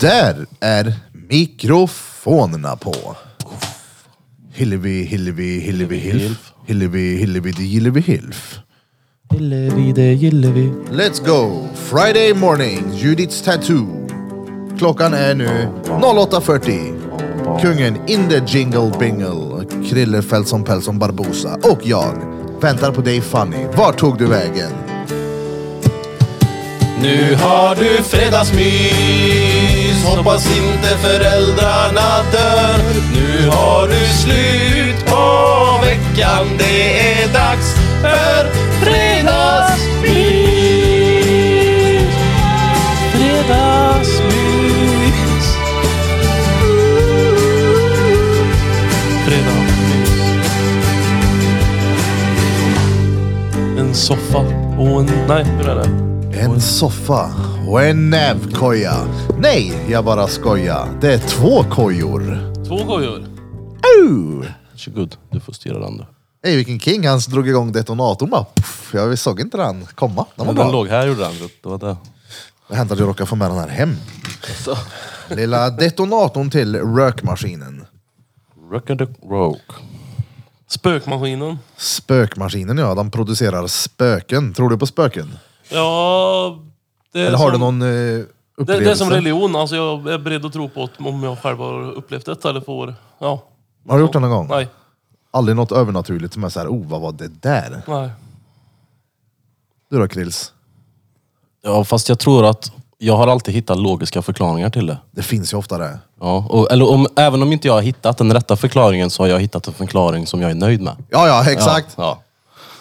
Där är mikrofonerna på. Hillevi, Hillevi, Hillevi, Hilf. Hillevi, Hillevi, di Hillevi, Hilf. Gillevi det Gillevi. Let's go! Friday morning, Judiths tattoo. Klockan är nu 08.40. Kungen in the jingle bingle. Krille Felson Pelson Barbosa och jag väntar på dig Fanny. Var tog du vägen? Nu har du fredagsmys Hoppas inte föräldrarna dör Nu har du slut på veckan Det är dags för fredagsmys Fredagsmys Fredagsmys En soffa och en... Nej, hur är det? En soffa och en nävkoja. Nej, jag bara skojar. Det är två kojor. Två gojor. Uh! Varsågod, du får styra den du. Ey, vilken king. Han drog igång detonatorn bara. Puff, Jag såg inte den komma. Den var Men den bra. låg här gjorde den. Det var det. Det hände att jag råkade få med den här hem. Lilla detonatorn till rökmaskinen. Rock rock. Spökmaskinen. Spökmaskinen ja, de producerar spöken. Tror du på spöken? Ja... Det är Eller har du som, någon eh, upplevelse? det, det är som religion. Alltså jag är beredd att tro på att om jag själv har upplevt detta eller får... Ja. Har du gjort det någon gång? Nej. Aldrig något övernaturligt som är såhär, oh vad var det där? Nej. Du då Krills? Ja, fast jag tror att jag har alltid hittat logiska förklaringar till det. Det finns ju ofta det. Ja, och, eller om, även om inte jag har hittat den rätta förklaringen så har jag hittat en förklaring som jag är nöjd med. Ja, ja, exakt. Ja,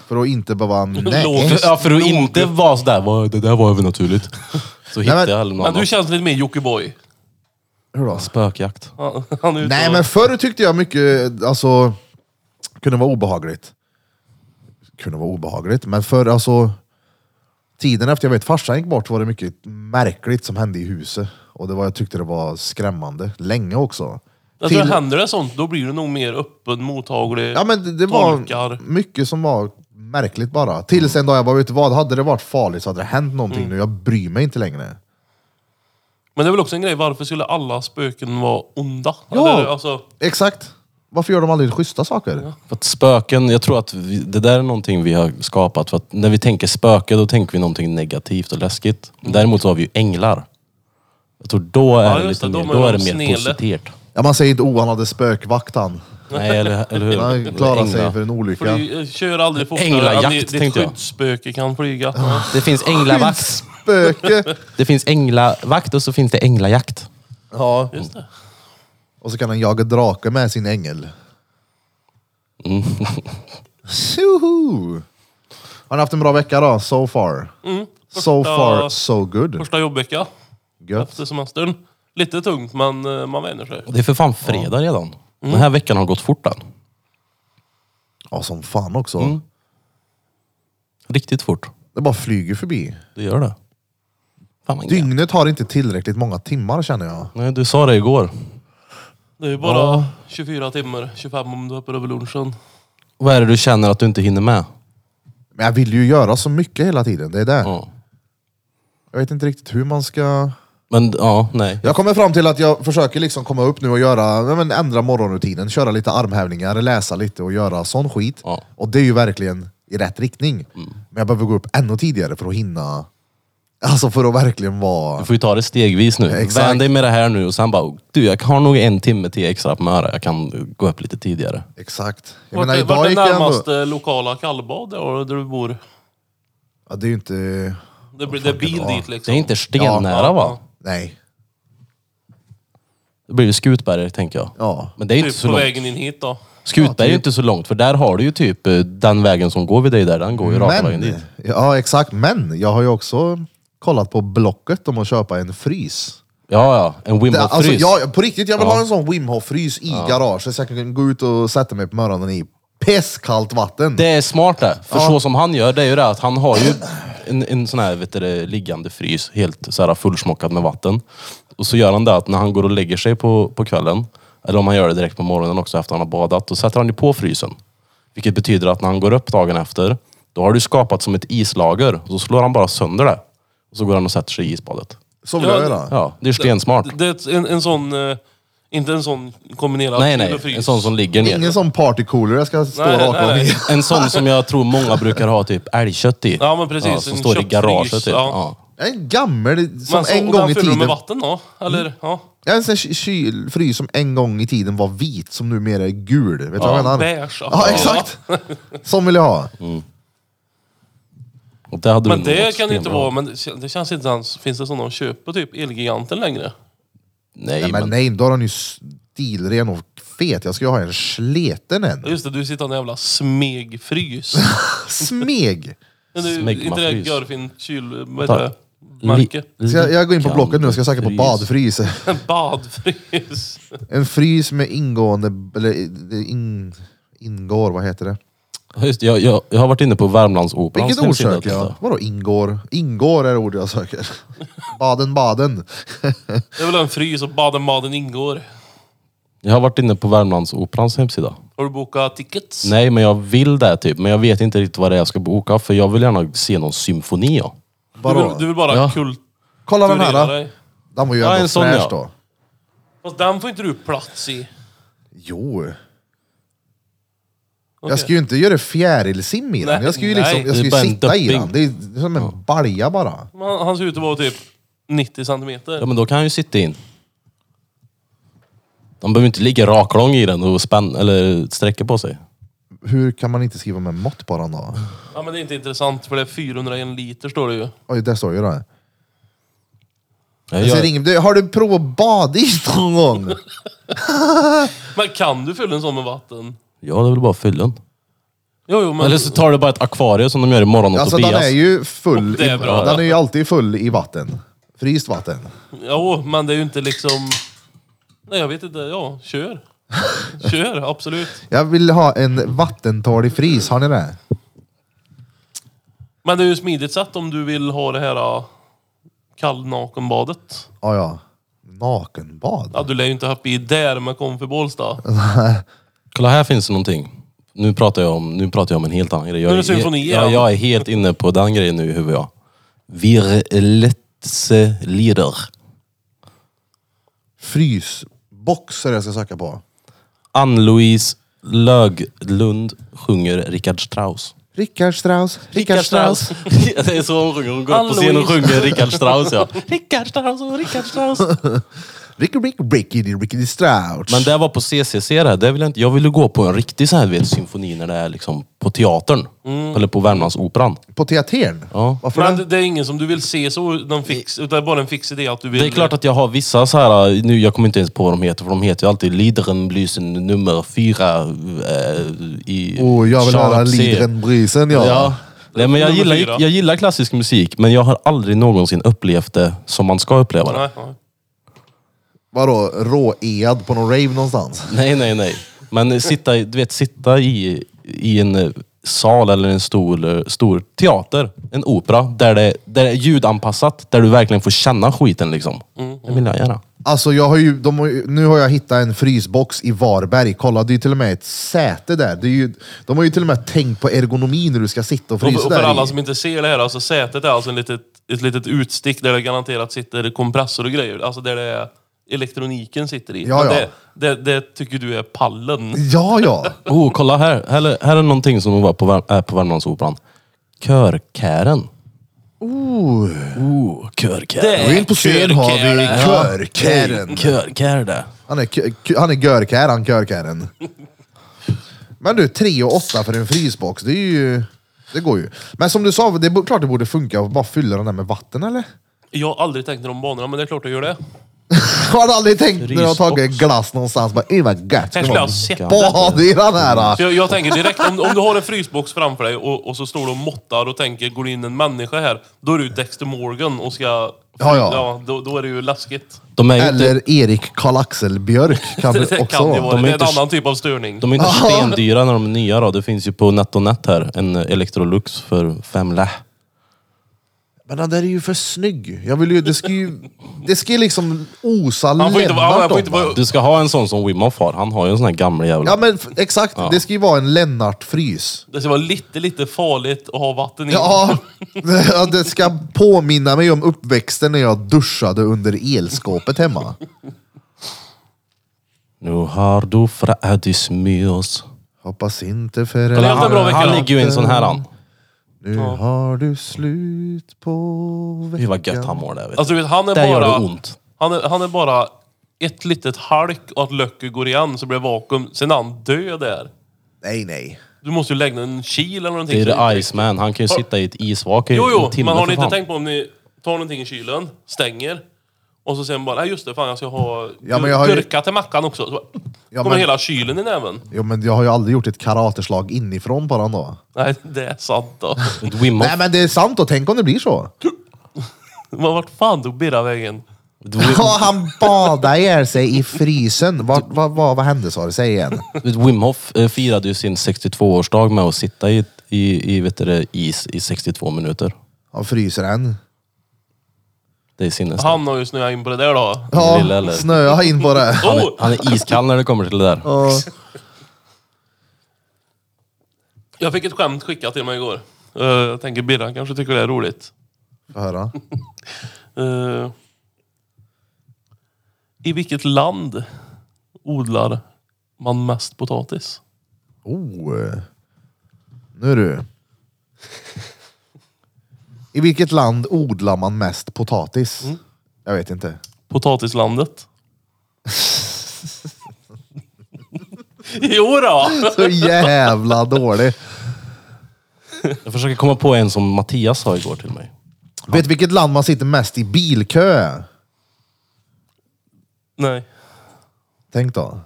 För att inte behöva... Nej. Logiskt. ja. ja för att inte vara sådär, "Vad- det där var övernaturligt. Så hittar men- jag eller någon Men annan. du känns lite mer Jockiboi. Hur då? Spökjakt. Han, han är ute Nej och- men förr tyckte jag mycket, alltså, kunde vara obehagligt. Kunde vara obehagligt, men förr alltså, tiden efter jag vet farsan gick bort var det mycket märkligt som hände i huset. Och det var, jag tyckte det var skrämmande, länge också. Jag tror Till- händer det sånt, då blir du nog mer öppen, mottaglig. ja men det, det tolkar. var mycket som var märkligt bara. Tills en dag jag bara, vet du vad, hade det varit farligt så hade det hänt någonting nu, jag bryr mig inte längre. Men det är väl också en grej, varför skulle alla spöken vara onda? Ja. Eller, alltså, Exakt! Varför gör de aldrig schyssta saker? För att spöken, jag tror att vi, det där är någonting vi har skapat. För att när vi tänker spöke, då tänker vi någonting negativt och läskigt. Däremot så har vi ju änglar. Jag tror då är Mm. Ja, det just lite det, mer, de är då de är det mer snälla. positivt. Ja, man säger inte, oh han hade spökvakt han. Nej, eller, eller hur? Han klarade sig Änglar. för en olycka. fly, eh, kör aldrig fortare Änglajakt, än ditt- ditt tänkte jag. skyddsspöke kan flyga. Ah. Ja. Det finns änglavakt. Spöke! Det finns änglavakt och så finns det änglajakt. Ja. Just det. Och så kan han jaga drake med sin ängel. Tjoho! Har ni haft en bra vecka då, so far? so Mm. första- far, so good. Första jobbvecka Gött. efter semestern. Lite tungt, men eh, man vänjer sig. Och det är för fan fredag redan. Den här veckan har gått fort den. Ja, som fan också. Riktigt fort. Det bara flyger förbi. Det gör det. Fan vad gött. Dygnet har inte tillräckligt många timmar känner jag. Nej, du sa det igår. Det är ju bara 24 timmar, 25 om du hoppar över lunchen. Vad är det du känner att du inte hinner med? Men jag vill ju göra så mycket hela tiden, det är det. Ja. Jag vet inte riktigt hur man ska... Men ja, nej. Jag kommer fram till att jag försöker liksom komma upp nu och göra, ja, men ändra morgonrutinen, köra lite armhävningar, läsa lite och göra sån skit. Ja. Mm. Och det är ju verkligen i rätt riktning. Men jag behöver gå upp ännu tidigare för att hinna, alltså för att verkligen vara... Du får ju ta det stegvis nu. Exakt. Vän dig med det här nu och sen bara, du jag har nog en timme till extra på mig här. Jag kan gå upp lite tidigare. Exakt. Jag Vart, menar, är- idag vart är gick jag ändå- närmaste lokala kallbad där där du bor? Ja, det är ju inte... Det, blir, det är bil dit Det liksom. är inte stennära Ja, ja, va? Nej. Det blir ju Skutberg tänker jag. Ja. Men det är ju inte Typ så på långt. vägen in hit då. Skutberg är ju inte så långt för där har du ju typ eh, den vägen som går vid dig där. Den går ju raka vägen dit. Men, ja exakt, men jag har ju också kollat på Blocket om att köpa en frys. Ja, ja. En Wim Det, alltså, Hof-frys. jag, på riktigt, jag vill ha en sån Wim Hof-frys i garaget så jag kan gå ut och sätta mig på morgonen i pisskallt vatten. Det är smart det. För så som han gör, det är ju det att han har ju en, en sån här vet du, det, liggande frys, helt så här fullsmockad med vatten. Och så gör han det att när han går och lägger sig på, på kvällen, eller om han gör det direkt på morgonen också efter han har badat, då sätter han ju på frysen. Vilket betyder att när han går upp dagen efter, då har du skapat som ett islager. Och så slår han bara sönder det. Och så går han och sätter sig i isbadet. Så vill Ja, jag göra. Ja, det är stensmart. Det är ett- en, en sån... eh, Inte en sån kombinerad Nej, kyl nej. och frys. En sån som ligger ner. Ingen sån partycooler jag ska stå Nej, nej, rakt av nej. i. En sån som jag tror många brukar ha typ älgkött i. Ja, men precis. som En står i köttfrys, garaget typ. ja. Ja. En gammal, som Men så- en och gång den i fyller du tiden... med vatten då? Eller? Ja. Ja, en sån här ky- kyl, frys som en gång i tiden var vit, som numera är gul. Vet du vad jag menar? beige, ja. ja, exakt. Sån vill jag ha. Och det hade Men du nog det varit kan det inte stenbra. vara, men det kän- det känns inte ens... Finns det sådana att köpa typ Elgiganten längre? Nej, Nej, men, men nej, då har han ju stilren och fet. Jag ska ju ha en sleten en. Just det, du sitter i en jävla smegfrys. Smeg! Men det är ju Smegmafrys. inte det Görfin kyl... Vad Ta- heter det? Märke? Ska jag, jag går in på Kan Blocket nu och ska söka på frys. badfrys. Badfrys. En frys med ingående... Eller det in, ingår, vad heter det? Ja, Just, det. jag, jag, jag har varit inne på Värmlandsoperans Vilket ord hemsida och söker jag? tittat. Vadå ingår? Ingår är ordet jag söker. Baden, baden. Det är väl en frys och Baden-Baden ingår. Jag har varit inne på Värmlandsoperans hemsida. Har du bokat tickets? Nej, men jag vill det typ. Men jag vet inte riktigt vad det är jag ska boka. För jag vill gärna se någon symfoni. Ja. Du Vadå? vill, du vill bara Ja. kulturera Kolla den här. då. dig. Den var ju Ja, ändå en sån, fräsch ja. då. Fast den får inte du plats i. Jo. Okej. Jag ska ju inte göra fjärilsim i den. Jag ska ju, Nej, liksom, jag det ska är ju bara en sitta i dopping. den. Det är det är som en balja bara. Men Han, han ser ut att vara typ 90 centimeter. ja, men då kan jag ju sitta in. De behöver inte ligga raklång i den och spänn, eller sträcka på sig. Hur kan man inte skriva med mått på den då? Ja men det är inte intressant för det är 401 liter står det ju. Oj, där står ju det. Jag, Jag ser jag, ingen, du, har du provat att bada i någon gång? Men kan du fylla en sån med vatten? ja, det är väl bara fyllen. Jo jo men... Eller så tar du bara ett akvarium som de gör i morgon och Alltså den Tobias. är ju full. Det är i, bra. den är ju alltid full i vatten. Fryst vatten. Jo men det är ju inte liksom... Nej jag vet inte, ja kör. Kör, absolut. Jag vill ha en vattentalig frys, har ni det? Men det är ju ett smidigt sätt om du vill ha det här uh, kallnakenbadet. Ja, ja. Nakenbad? Ja du lär ju inte ha i där med kom för Bålsta. Kolla här finns det någonting. Nu pratar jag om, nu pratar jag om en helt annan grej. Nu är Jag, det symfoni jag, igen. jag är helt inne på den grejen nu i huvudet. Ja. Virletselider. Frysbox är det jag ska söka på. Ann-Louise Löglund sjunger Richard Strauss. Rickard Strauss, Rickard Strauss. det är så hon sjunger. Hon går upp på scen och Ann-Louise. sjunger Richard Strauss. Ja. Richard Strauss och Richard Strauss. Ricky Ricky Ricky Ricky Strauss. Men det var på CCC det. det vill jag, inte, jag ville gå på en riktig så här, vet, symfoni när det är liksom på teatern. Mm. Eller på Värmlandsoperan. På teatern? Ja. Varför Men det? det, det är ingen som du vill se så, någon fix, utan bara en fix idé att du vill... Det är klart att jag har vissa så här, eh, nu, jag kommer inte ens på vad de heter, för de heter ju alltid Liderenblysen nummer fyra eh, i... Oh, jag vill höra Charles C. Lidrenbrysen Ja. ja. Nej, men jag, Nummer gillar, ju- fyra. jag gillar klassisk musik, men jag har aldrig någonsin upplevt det som man ska uppleva det. Nej, nej. Vadå, rå-ead på någon rave någonstans? Nej, nej, nej. Men sitta, i- du vet, sitta i, i en eh, sal eller en stor, eh, stor teater, en opera, där det, där det är ljudanpassat, där du verkligen får känna skiten liksom. Mm. Det vill jag göra. Alltså jag har ju, de har ju, nu har jag hittat en frysbox i Varberg. Kolla, det är ju till och med ett säte där. Det är ju, de har ju till och med tänkt på ergonomi när du ska sitta och Och frysa för, och där för i. alla som inte ser det här, alltså sätet är alltså en litet, ett litet utstick där det garanterat sitter kompressor och grejer. Alltså där det är elektroniken sitter i. Ja, Men ja. Det, det, det tycker du är pallen. Ja, ja. Oh, kolla här. Här är, här är någonting som var på, Vär- är på Värmlandsoperan. Körkären. Oh, oh körkär. Det Och in på scen har vi Körkären. Körkär det. Han är, kö- kö- han är görkär, han körkären. Men du, 3 och 8 för en frysbox, det är ju... Det går ju. Men som du sa, det är klart det borde funka att bara fylla den där med vatten eller? Jag har aldrig tänkt i de banorna, men det är klart jag gör det. Har du aldrig tänkt när du har Frysbox. tagit glass någonstans, bara "Ey, vad gött Här det skulle jag var. ha sett det. Bad i den här! äh. För jag, jag tänker direkt, om, om du har en frysbox framför dig och, och så står du och måttar och tänker, går det in en människa här, då är du Dexter Morgan och ska... ja. då, då är det ju läskigt. De är ju inte, Eller Erik Karl-Axel Björk kan Det, det det också kan ju vara. vara. De är Det är en inte- annan typ av störning. de är inte stendyra när de är nya då. Det finns ju på NetOnNet här, en Electrolux för fem lä. Men den där är ju för snygg. Jag vill ju, det ska ju det ska ju liksom osa Han får inte vara- han Lennart får om inte vara- den. Du ska ha en sån som Wim Hof har. Han har ju en sån här gammal jävla... Ja men f- exakt, det ska ju vara en Lennart-frys. Det ska vara lite, lite farligt att ha vatten i. Ja, ja, det ska påminna mig om uppväxten när jag duschade under elskåpet hemma. Nu har du frädis med oss. Hoppas inte för Det är alltid bra Han, vecka. han ligger ju i en sån här han. Nu har du slut på Fy veckan. vad gött han mår där. Vet du. Alltså du vet, han är Där gör bara... det ont. Han är, han är bara ett litet halk och att löcket går igen så blir det vakuum. Sen är han död där. Nej, nej. Du måste ju lägga en kil eller någonting. Det är så- det Iceman. Han kan ju sitta i ett isvak i Jo, en jo, timme men har ni för inte fan. tänkt på om ni tar någonting i kylen, stänger och så sen bara, nej just det, fan jag ska ha Ja, men jag har ju- gurka till mackan också. Så bara, Ja, kommer men- hela kylen i näven. Jo, men jag har ju aldrig gjort ett karateslag inifrån på den då. Nej, det är sant då. Ett Wim Hof. Nej, men det är sant då. Tänk om det blir så. Men vart fan tog Birra vägen? Ett Wim- Ja, han badade ihjäl sig i frysen. Vad va, va, vad hände sa du? Säg igen. Vet, Wim Hof eh, firade ju sin 62-årsdag med att sitta i, i, i vet du, det, is i 62 minuter. Han fryser än. Det är sinnes. Han, Han har ju snöat in på det där då. Lille, Ja, eller? snöa in på det. Oh! han är iskall när det kommer till det där. Ja. Jag fick ett skämt skickat till mig igår. Eh, jag tänker Birra kanske tycker det är roligt. Får höra. Eh, I vilket land odlar man mest potatis? Oh. eh. Nu du. I vilket land odlar man mest potatis? Jag vet inte. Potatislandet. jo då. Så jävla dålig. Jag försöker komma på en som Mattias sa igår till mig. Vet du vilket land man sitter mest i bilkö? Nej. Tänk då.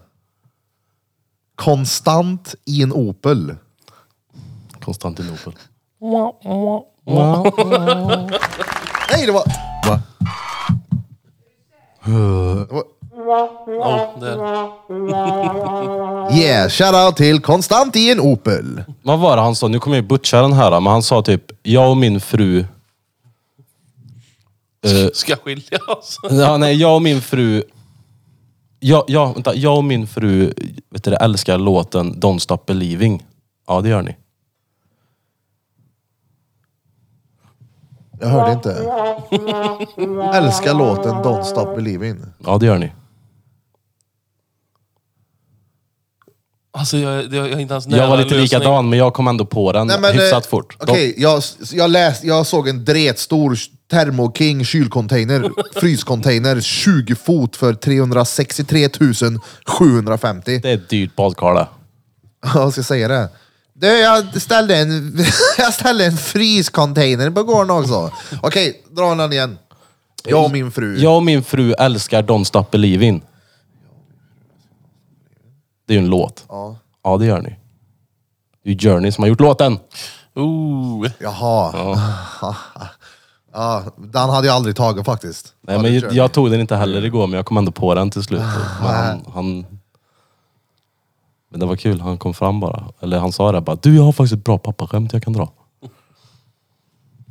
Konstant i en Opel. Konstantinopel. Nej, det var... Va? Det var- Ja, där. Yeah, shoutout till Konstant i en Opel. Vad var det han sa? Nu kommer jag ju butcha den här, men han sa typ, jag och min fru... eh, Ska alltså. skiljas. ja, nej, jag och min fru... Ja, ja, vänta, jag och min fru vet du, det, älskar låten Don't Stop Believing. Ja, det gör ni. Jag hörde inte. Älskar låten Don't Stop Believin. Ja, det gör ni. Alltså jag, jag, jag är inte ens nära Jag var lite en lösning. likadan, men jag kom ändå på den Mm, hyfsat fort. De- eh, Okej, jag, jag, läste, jag såg en dretstor Thermo King kylcontainer, fryscontainer, 20 fot för 363 750. Det är ett dyrt badkar det. Ja, Jag ska säga det. Du, jag ställde en, jag ställde en fryscontainer på gården också. Okej, dra den igen. Jag och min fru. Jag och min fru älskar Don't Stop Believing. Det är ju en låt. Ja. Ja, det gör ni. Det är ju Journey som har gjort låten. Ooh. Jaha. Ja. den hade jag aldrig tagit faktiskt. Nej, Ja, men det jag, tror Ah. jag tog den inte heller igår, men jag kom ändå på den till slut. Men, han, han... men det var kul, han kom fram bara. Eller han sa det bara, du jag har faktiskt ett bra pappaskämt jag kan dra.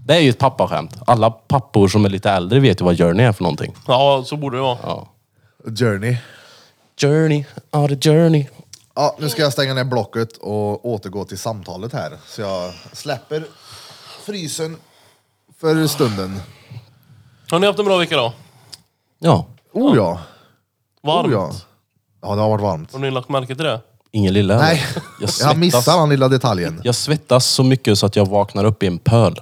Det är ju ett pappaskämt. Alla pappor som är lite äldre vet ju vad Journey är för någonting. Ja, så borde det vara. Ja. Journey. Journey, ja the journey. Ja, nu ska jag stänga ner blocket och återgå till samtalet här. Så jag släpper frysen för stunden. Har ni haft en bra vecka då? Ja, Oh ja. Varmt? Oh, ja. ja, det har varit varmt. Har ni lagt märke till det? ingen lilla heller. Nej, jag jag svettas, missar den lilla detaljen. jag svettas så mycket så att jag vaknar upp i en pöl.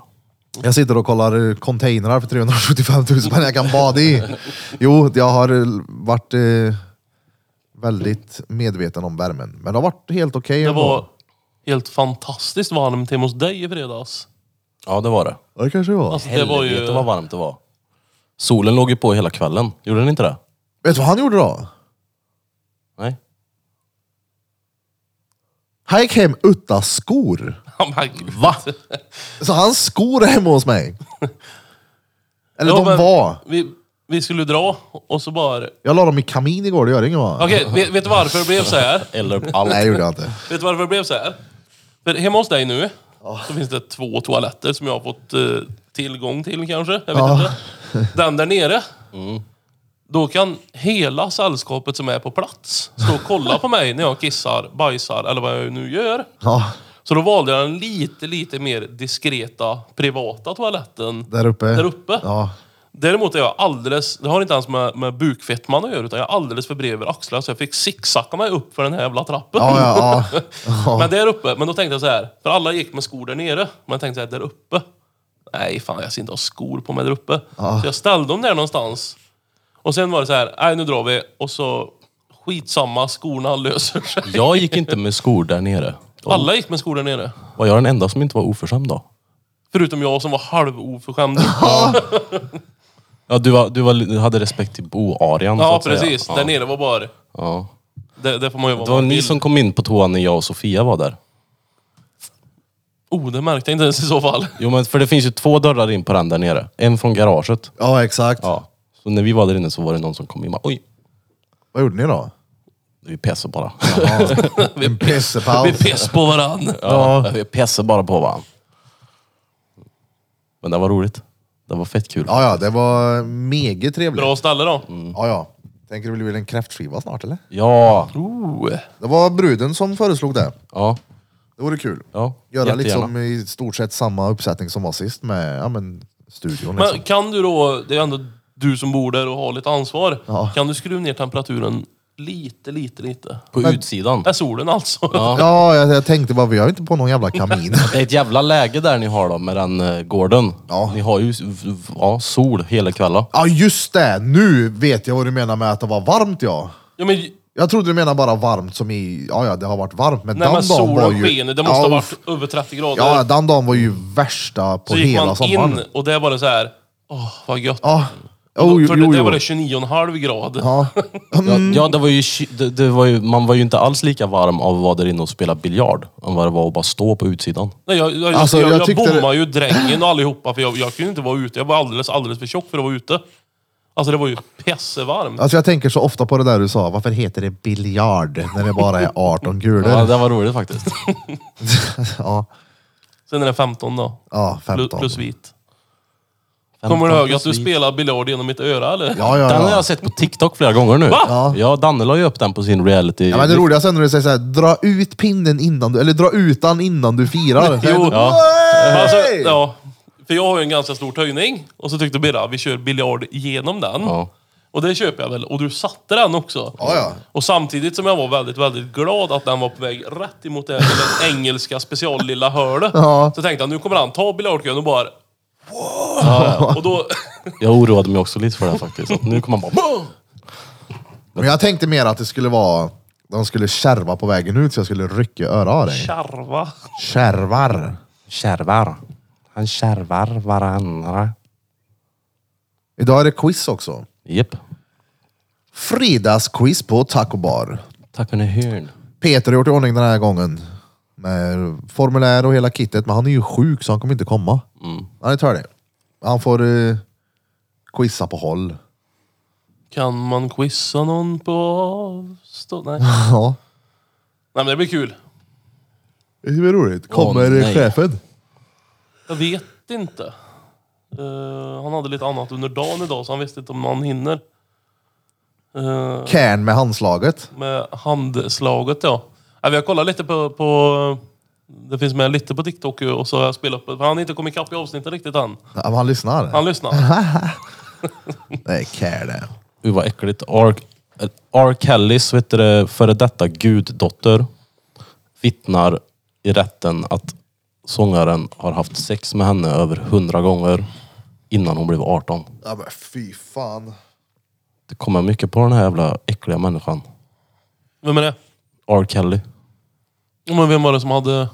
Jag sitter och kollar eh, containrar för 375 000 men jag kan bada i. Jo, jag har eh, varit eh, väldigt medveten om värmen. Men det har varit helt okej Det ändå. var helt fantastiskt varmt hemma hos dig i fredags. Ja, det var det. Ja, det kanske det var. Alltså, det var ju... Helvete vad varmt det var. Solen låg ju på hela kvällen. Gjorde den inte det? Vet du vad han gjorde då? Nej. Han gick hem utan skor. Ja, men gud. Va? Så hans skor är hemma hos mig. Eller Ja, de men var. Vi, vi skulle dra och så bara... Jag la dem i kamin igår, det gör inget va? Okej, vet, vet du varför det blev så här? Eller allt. Nej, det gjorde jag inte. Vet du varför det blev så här? För hemma hos dig nu så finns det två toaletter som jag har fått eh, tillgång till kanske. Jag vet Ja. inte. Den där nere. Då kan hela sällskapet som är på plats stå och kolla på mig när jag kissar, bajsar eller vad jag nu gör. Ja, Så då valde jag den lite, lite mer diskreta, privata toaletten. där uppe. Där uppe. Ja. Däremot är jag alldeles, det har inte ens med, med bukfettman att göra, utan jag är alldeles för bred över axlarna så jag fick zigzacka mig upp för den här jävla trappen. Ja, ja, ja. Men där uppe, men då tänkte jag så här, för alla gick med skor där nere, men jag tänkte så här, där uppe, nej fan jag ser inte ha skor på mig där uppe. Så jag ställde dem där någonstans. Och sen var det så här, nej nu drar vi, och så skitsamma, skorna löser sig. Jag gick inte med skor där nere. Alla gick med skor där nere. Var jag den enda som inte var oförskämd då? Förutom jag som var halvoförskämd. Ja, du, var, du, var, du hade respekt till boarian så ja att precis, Säga. där nere var bara, Ja. det, det får man ju vara Det var man ni vill. som kom in på toan när jag och Sofia var där. Oh, det märkte jag inte ens i så fall. Jo men för det finns ju två dörrar in på den där nere. En från garaget. ja, exakt. Ja. Så när vi var där inne så var det någon som kom in och bara, oj, Vad gjorde ni då? vi pessar bara. En pissepaus. Vi piss på varann. Ja. Vi pessar bara på varandra. Men det var roligt. Det var fett kul. Ja, ja, det var mega trevligt. Bra ställe då. Mm. Ja, ja. Tänker det blir väl en kräftskiva snart eller? Ja. Oh. Det var bruden som föreslog det. Ja. Det vore kul. ja. Göra Jättegärna. liksom i stort sett samma uppsättning som var sist med ja, men, studion. Liksom. Men kan du då, det är ändå du som bor där och har lite ansvar. Ja. Kan du skruva ner temperaturen lite, lite, lite? På utsidan. Är solen alltså? Ja, jag, jag tänkte bara, vi har ju inte på någon jävla kamin. Det är ett jävla läge där ni har då med den eh, gården. Ja. Ni har ju s- v- v- ja, sol hela kvällen. ja, just det! Nu vet jag vad du menar med att det var varmt ja. Ja, men, Jag trodde du menade bara varmt som i, ja ja det har varit varmt. Men nej, den men dagen var solen ju... skener. Det måste ha ja, varit över 30 grader. Ja, den dagen var ju värsta på så gick hela man sommaren. in och det var det så här. åh vad gött. Ja. Då- Oh, jo, För det, jo, där jo. var det 29,5 grader. Ja. Mm. Ja, ja det var ju, ky- det, det var ju, man var ju inte alls lika varm av att vara där inne och spela biljard än vad det var att bara stå på utsidan. Nej, jag jag, Alltså, jag, jag jag, tyckte bommade ju drängen och allihopa för jag, jag kunde inte vara ute. Jag var alldeles, alldeles för tjock för att vara ute. Alltså det var ju pissevarmt. Alltså jag tänker så ofta på det där du sa, varför heter det biljard när det bara är 18 gulor? Ja, det var roligt faktiskt. Ja, Sen är det 15 då. ja Plus, 15. plus vit. Kommer du 15 ihåg att du plus vit. spelar biljard genom mitt öra eller? Ja, ja, Den har ja. jag sett på TikTok flera gånger nu. Va? Ja, ja Danne la ju upp den på sin reality. ja men det roligaste är när du säger såhär, dra ut pinnen innan du, eller dra ut den innan du firar. Jo. ja. Eh, Alltså, ja. För jag har ju en ganska stor töjning. Och så tyckte Birra, vi kör biljard genom den. Ja. Och det köper jag väl. Och du satte den också. Ja, ja. Och samtidigt som jag var väldigt, väldigt glad att den var på väg rätt emot det här lilla engelska speciallilla hörnet. Ja. Så tänkte jag, nu kommer han ta biljardkön och bara... Och då... Jag oroade mig också lite för det här faktiskt. Att nu kommer man bara... Men jag tänkte mer att det skulle vara, de skulle kärva på vägen ut så jag skulle rycka i öra av dig. Charva. Kärvar. Kärvar. Han kärvar varandra. Idag är det quiz också. Jep. Fridagsquiz på Taco Bar. Tack under hörn. Peter har gjort i ordning den här gången. Med formulär och hela kittet, men han är ju sjuk så han kommer inte komma. Han är tördig. Han får eh, quizza på håll. Kan man quizza någon på avstånd? Nej. Ja. Nej men det blir kul. Det blir roligt. Kommer nej. chefen? Jag vet inte. Eh, han hade lite annat under dagen idag så han visste inte om han hinner. Eh, Kärn med handslaget. med handslaget ja. Nej, vi har kollat lite på, på... Det finns med lite på TikTok ju, och så har jag spelat upp det. För han har inte kommit ikapp i avsnittet riktigt än. Ja, men han lyssnar. Han lyssnar. Nej, kär det. Gud vad äckligt. R, R. Kellys, vet du det, före detta guddotter vittnar i rätten att sångaren har haft sex med henne över hundra gånger innan hon blev 18. Ja men fy fan. Det kommer mycket på den här jävla äckliga människan. Vem är det? R. Kelly. Ja, Men vem var det som hade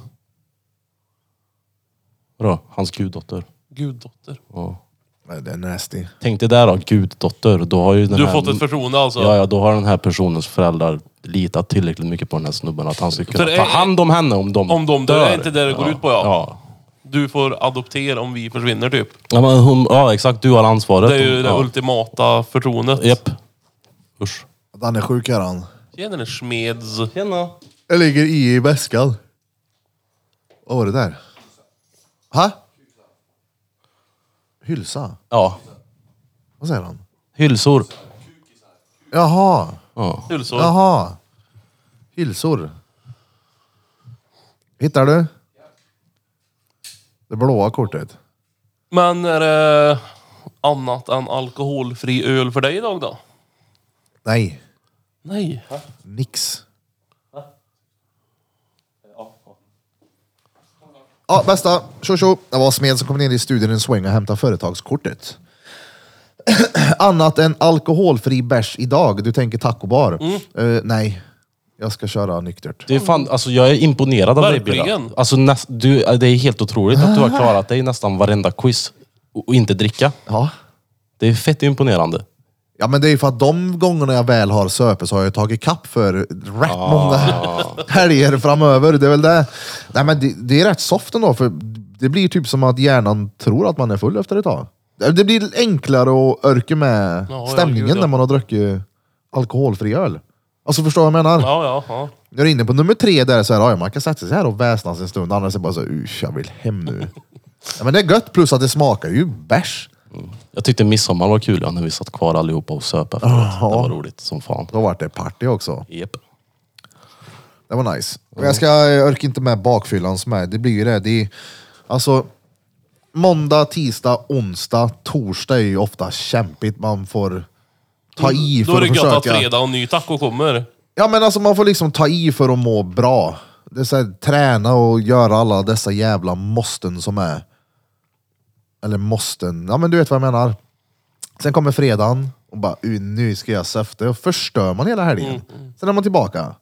Vadå? Hans guddotter. guddotter? Ja. Nej, det är nasty. Tänk dig där då, guddotter. Då har ju den Du har här... fått ett förtroende alltså? Ja, ja, då har den här personens föräldrar litat tillräckligt mycket på den här snubben att han ska kunna det är- ta hand om henne om de Om de dör. dör. Det är inte det det går ut på, ja. ja. Du får adoptera om vi försvinner typ. Ja, men hon, ja exakt, du har ansvaret. Det är ju det ja. ultimata förtroendet. Japp. Usch. Han är sjuk är han. Tjenare Smeds. Tjena. Jag ligger i i väskan. Vad var det där? Ha? Hylsa? Ja, Vad säger han? hylsor. Jaha, Ja. Hylsor. jaha. Hylsor. Hittar du? Det blåa kortet. Men är det annat än alkoholfri öl för dig idag då? Nej, Nej. nix. Ja, bästa. Tjo tjo. Det var Smed som kom ner i studion i en sväng och hämtade företagskortet. Annat än alkoholfri bärs idag. Du tänker tacobar. Eh, nej, jag ska köra nyktert. Det är fan, alltså jag är imponerad av dig Verkligen. Birra. Alltså, näst, du, det är helt otroligt att du har klarat dig nästan varenda quiz och, och inte dricka. Ja. Det är fett imponerande. Ja men det är ju för att de gångerna jag väl har söpe så har jag tagit kapp för rätt Ah. många helger framöver. Det är väl det. Nej men det, det är rätt soft ändå för det blir typ som att hjärnan tror att man är full efter ett tag. Det blir enklare att örka med Ja, ja, stämningen gud, ja. när man har druckit alkoholfri öl. Alltså förstår du vad jag menar? Ja, ja, ja. När du är inne på nummer tre där så här, ja, man kan sätta sig här och väsnas en stund, annars är det bara så usch jag vill hem nu. ja, men det är gött, plus att det smakar ju bärs. Jag tyckte midsommar var kul ja, när vi satt kvar allihopa och söp efteråt. Det var roligt som fan. Då vart det party också. Yep. Det var nice. Men Jag, ska, jag orkar inte med bakfyllan som är. Det blir ju det. det är, alltså, måndag, tisdag, onsdag, torsdag är ju ofta kämpigt. Man får ta i Då för är det att gött att försöka. fredag och ny taco kommer. Ja men alltså man får liksom ta i för att må bra. Det är så här, träna och göra alla dessa jävla måsten som är. Eller måsten, ja men du vet vad jag menar. Sen kommer fredagen och bara, "Uh, nu ska jag söfte. Och förstör man hela helgen. Sen är man tillbaka.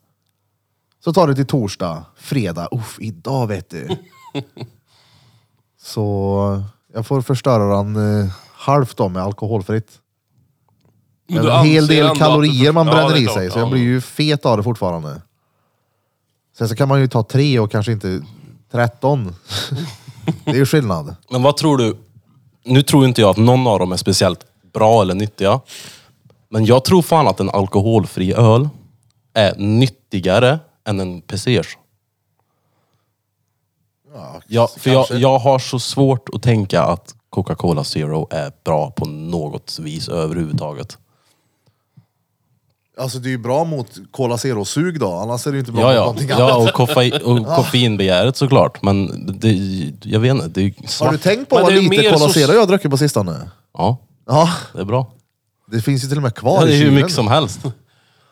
Så tar det till torsdag, fredag, uff, idag vet du. så jag får förstöra den eh, halvt då med alkoholfritt. Men Det du är en hel anser ändå del att kalorier du- man Ja, bränner det är i klart, sig, så ja. jag blir ju fet av det fortfarande. Sen så kan man ju ta tre och kanske inte 13. det är ju skillnad. Men vad tror du? Nu tror inte jag att någon av dem är speciellt bra eller nyttiga. Men jag tror fan att en alkoholfri öl är nyttigare än en pesers. Ja, för jag, jag har så svårt att tänka att Coca-Cola Zero är bra på något vis överhuvudtaget. Alltså det är ju bra mot Cola Zero-sug då, annars är det ju inte bra Ja, mot ja. någonting annat. ja och, koffein, och koffeinbegäret såklart. Men det, jag vet inte, det är ju Har du svart. tänkt på Men vad det är ju mer lite Cola så- Zero jag har druckit på sistone? Ja, Ja, det är bra. det finns ju till och med kvar Ja, det är i hur kylen. mycket som helst.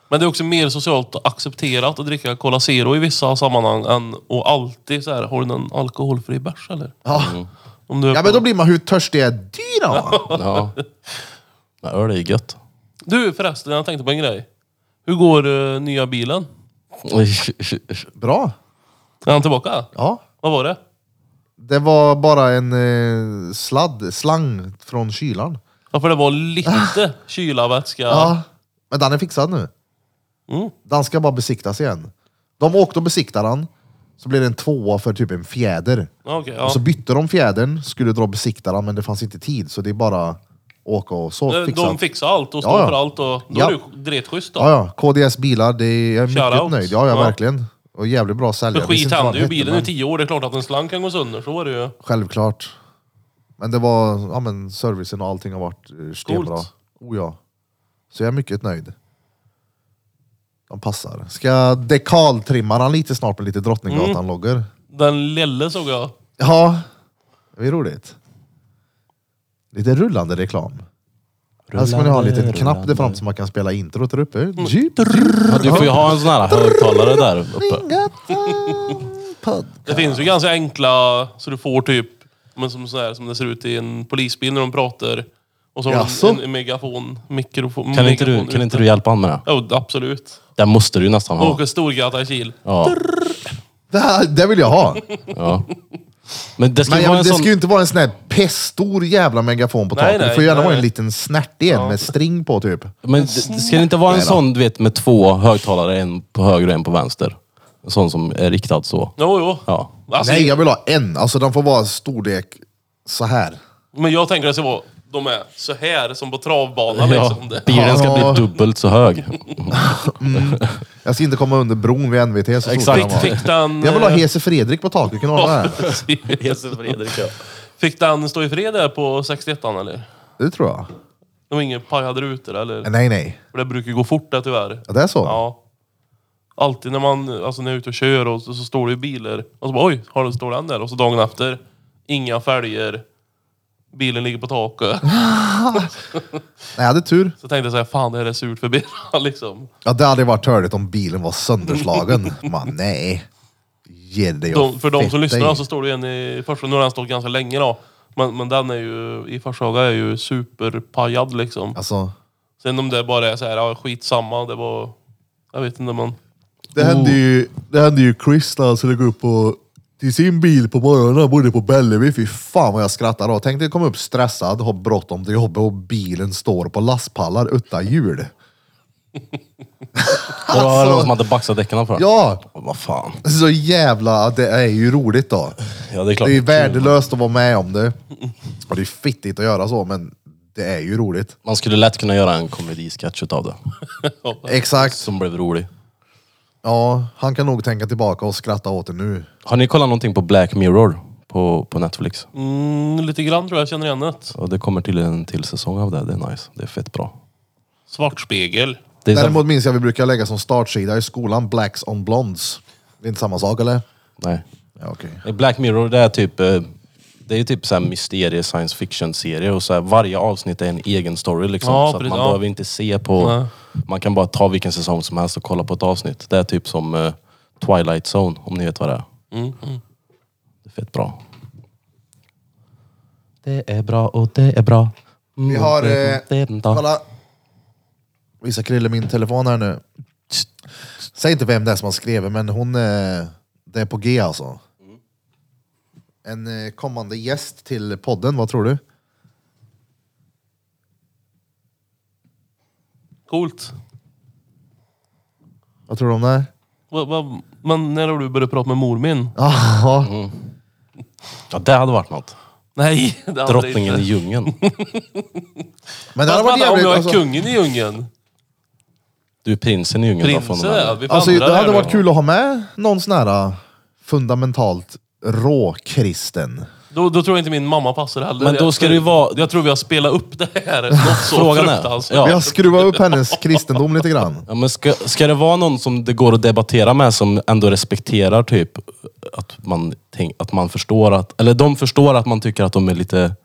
Men det är också mer socialt accepterat att dricka Cola Zero i vissa sammanhang än att alltid så här, har du någon alkoholfri bärs eller? Ja. Om du är ja, på- men då blir man hur törstig är du då? Mm. Ja. Ja, öl är ju gött. Du förresten, jag tänkte på en grej. Hur går eh, nya bilen? Bra. Är han tillbaka? Ja. Vad var det? Det var bara en eh, sladd, slang från kylaren. Ja, för det var lite kyla, vätska. Ah. Ja, men den är fixad nu. Mm. Den ska bara besiktas igen. De åkte och besiktade den, så blev det en tvåa för typ en fjäder. Ja, Okej, ja. Och så bytte de fjädern, skulle dra och besikta den, men det fanns inte tid. Så det är bara åka och så Eh, fixa. De fixar allt och står Ja, ja. för allt och då Ja. är det dretschysst då. Ja, ja. KDS bilar, det är, jag är mycket Shoutout. nöjd. Ja, ja, Ja. verkligen. Och jävligt bra säljare. Men Jag visste skit inte vad händer ju. han Bilen är hette, tio år. Det är klart att en slang kan gå sönder. Så är det ju. men Självklart. Men det var, ja men servicen och allting har varit eh, stenbra. Coolt. Oh, ja. Så jag är mycket nöjd. De passar. Ska jag dekaltrimma den lite snart med lite Mm. Drottninggatan-loggor? Den lille såg jag. Ja, det är roligt. Lite rullande reklam. Här ska man ju ha en liten Rullande, knapp där fram rullande. så man kan spela introt där uppe. Jeep, Ja, du får ju ha en sån här högtalare där uppe. Drottninggatan, Det podcast. finns ju ganska enkla, så du får typ, men som, så här, som det ser ut i en polisbil när de pratar. Och så Jaså? har de en, en megafon, mikrofon. Kan inte, du, megafon kan inte du ute. hjälpa honom med det? Jo, absolut. Den måste du ju nästan ha. Åker storgata i Kil. Ja, Det, här, det vill jag ha. ja. Men det ska Men ju vara jag, en det sån... ska ju inte vara en sån här peststor jävla megafon på Nej, taket. Det nej, får gärna nej, vara en nej. liten snärtig en med string på typ. Men det, det ska det inte vara en sån du vet med två högtalare, en på höger och en på vänster? En sån som är riktad så. Jo, jo. Ja. Alltså, Nej, jag vill ha en. Alltså den får vara storlek så här. Men jag tänker att det ska vara, de är så här som på travbanan ja. liksom. Det. Bilen ska Ja. bli dubbelt så hög. Jag ska inte komma under bron vid NVT. Så stor ska den Fick, vara. fick den... Jag vill ha eh, Hese Fredrik på taket. Kan du ha det Ja, här? precis. Fredrik, ja. Fick den stå i fred där på 61 eller? Det tror jag. Det var ingen pajade rutor eller? Nej, nej. För det brukar gå fort där tyvärr. Ja, det är så? Ja. Alltid när man alltså när jag är ute och kör och så, så står det ju bilar. Och så bara oj, har den, står den där? Och så dagen efter, inga fälgar. Bilen ligger på taket. Nej, jag hade tur. Så tänkte jag så här, fan det här är surt för bilarna liksom. Ja, det hade varit törligt om bilen var sönderslagen. Man, nej. Ge dig och De, för de fett som lyssnar alltså- dig. då, så står det ju en i Forshaga, nu har den stått ganska länge då. Men, men den är ju, i Forshaga är ju superpajad liksom. Alltså, Sen om det bara är så här, ja skitsamma, det var... Jag vet inte man... det hände ju, det hände ju Chris när han skulle gå upp på, till sin bil på morgonen. Han bodde på Bellevi. Fy fan vad jag skrattar då. Tänk dig komma upp stressad, ha bråttom till jobbet och bilen står på lastpallar utan hjul. Och då var det någon som hade baxat däcken för. Alltså. Ja, Vad fan. så jävla... Det är ju roligt då. Ja, det är klart. Det är värdelöst att vara med om det. Och det är fittigt att göra så, men det är ju roligt. Man skulle lätt kunna göra en komedisketch utav det. Exakt. Som blev rolig. Ja, han kan nog tänka tillbaka och skratta åt det nu. Har ni kollat någonting på Black Mirror på, på Netflix? Mm, lite grann tror jag, jag känner igen det. Och det kommer till en till säsong av det. Det är nice. Det är fett bra. Svartspegel. Det är så- Däremot minns jag vi brukar lägga som startsida i skolan, Blacks on Blondes. Det är inte samma sak eller? Nej. Ja, okej. Black Mirror, det är typ... eh, Det är ju typ så här mysterie, science fiction-serie och så här, varje avsnitt är en egen story liksom. Ja, så att precis, man ja. behöver inte se på... Nej. Man kan bara ta vilken säsong som helst och kolla på ett avsnitt. Det är typ som eh, Twilight Zone, om ni vet vad det är. Det är fett bra. Det är bra och det är bra. Mm, Vi har, det- eh, det är den dag. Kolla! Visa Krille min telefon här nu. Säg inte vem det är som har skrivit, men hon... eh, Det är på G alltså. En eh, kommande gäst till podden, vad tror du? Coolt. Vad tror du om det här? Va, va, men när har du börjat prata med mor min? Jaha. Ja, det hade varit något. Nej, det hade det Drottningen inte. i djungeln. Men det hade Fast varit vänta, om jävligt... jag är Alltså, kungen i djungeln. Du är prinsen i djungeln. då, från och Prinsen med ja, nu. vi får alltså, ändra det hade här nu. varit kul att ha med någon sån här eh, fundamentalt råkristen. Då, då tror jag inte min mamma passar heller. Men då ska jag, det ju vara- Jag tror vi har spelat upp det här. Något så Frågan är- fruktansvärt. ja. Vi har skruvat upp hennes kristendom lite grann. Ja, men ska, ska det vara någon som det går att debattera med som ändå respekterar typ att man, tänk, att man förstår att, eller de förstår att man tycker att de är lite,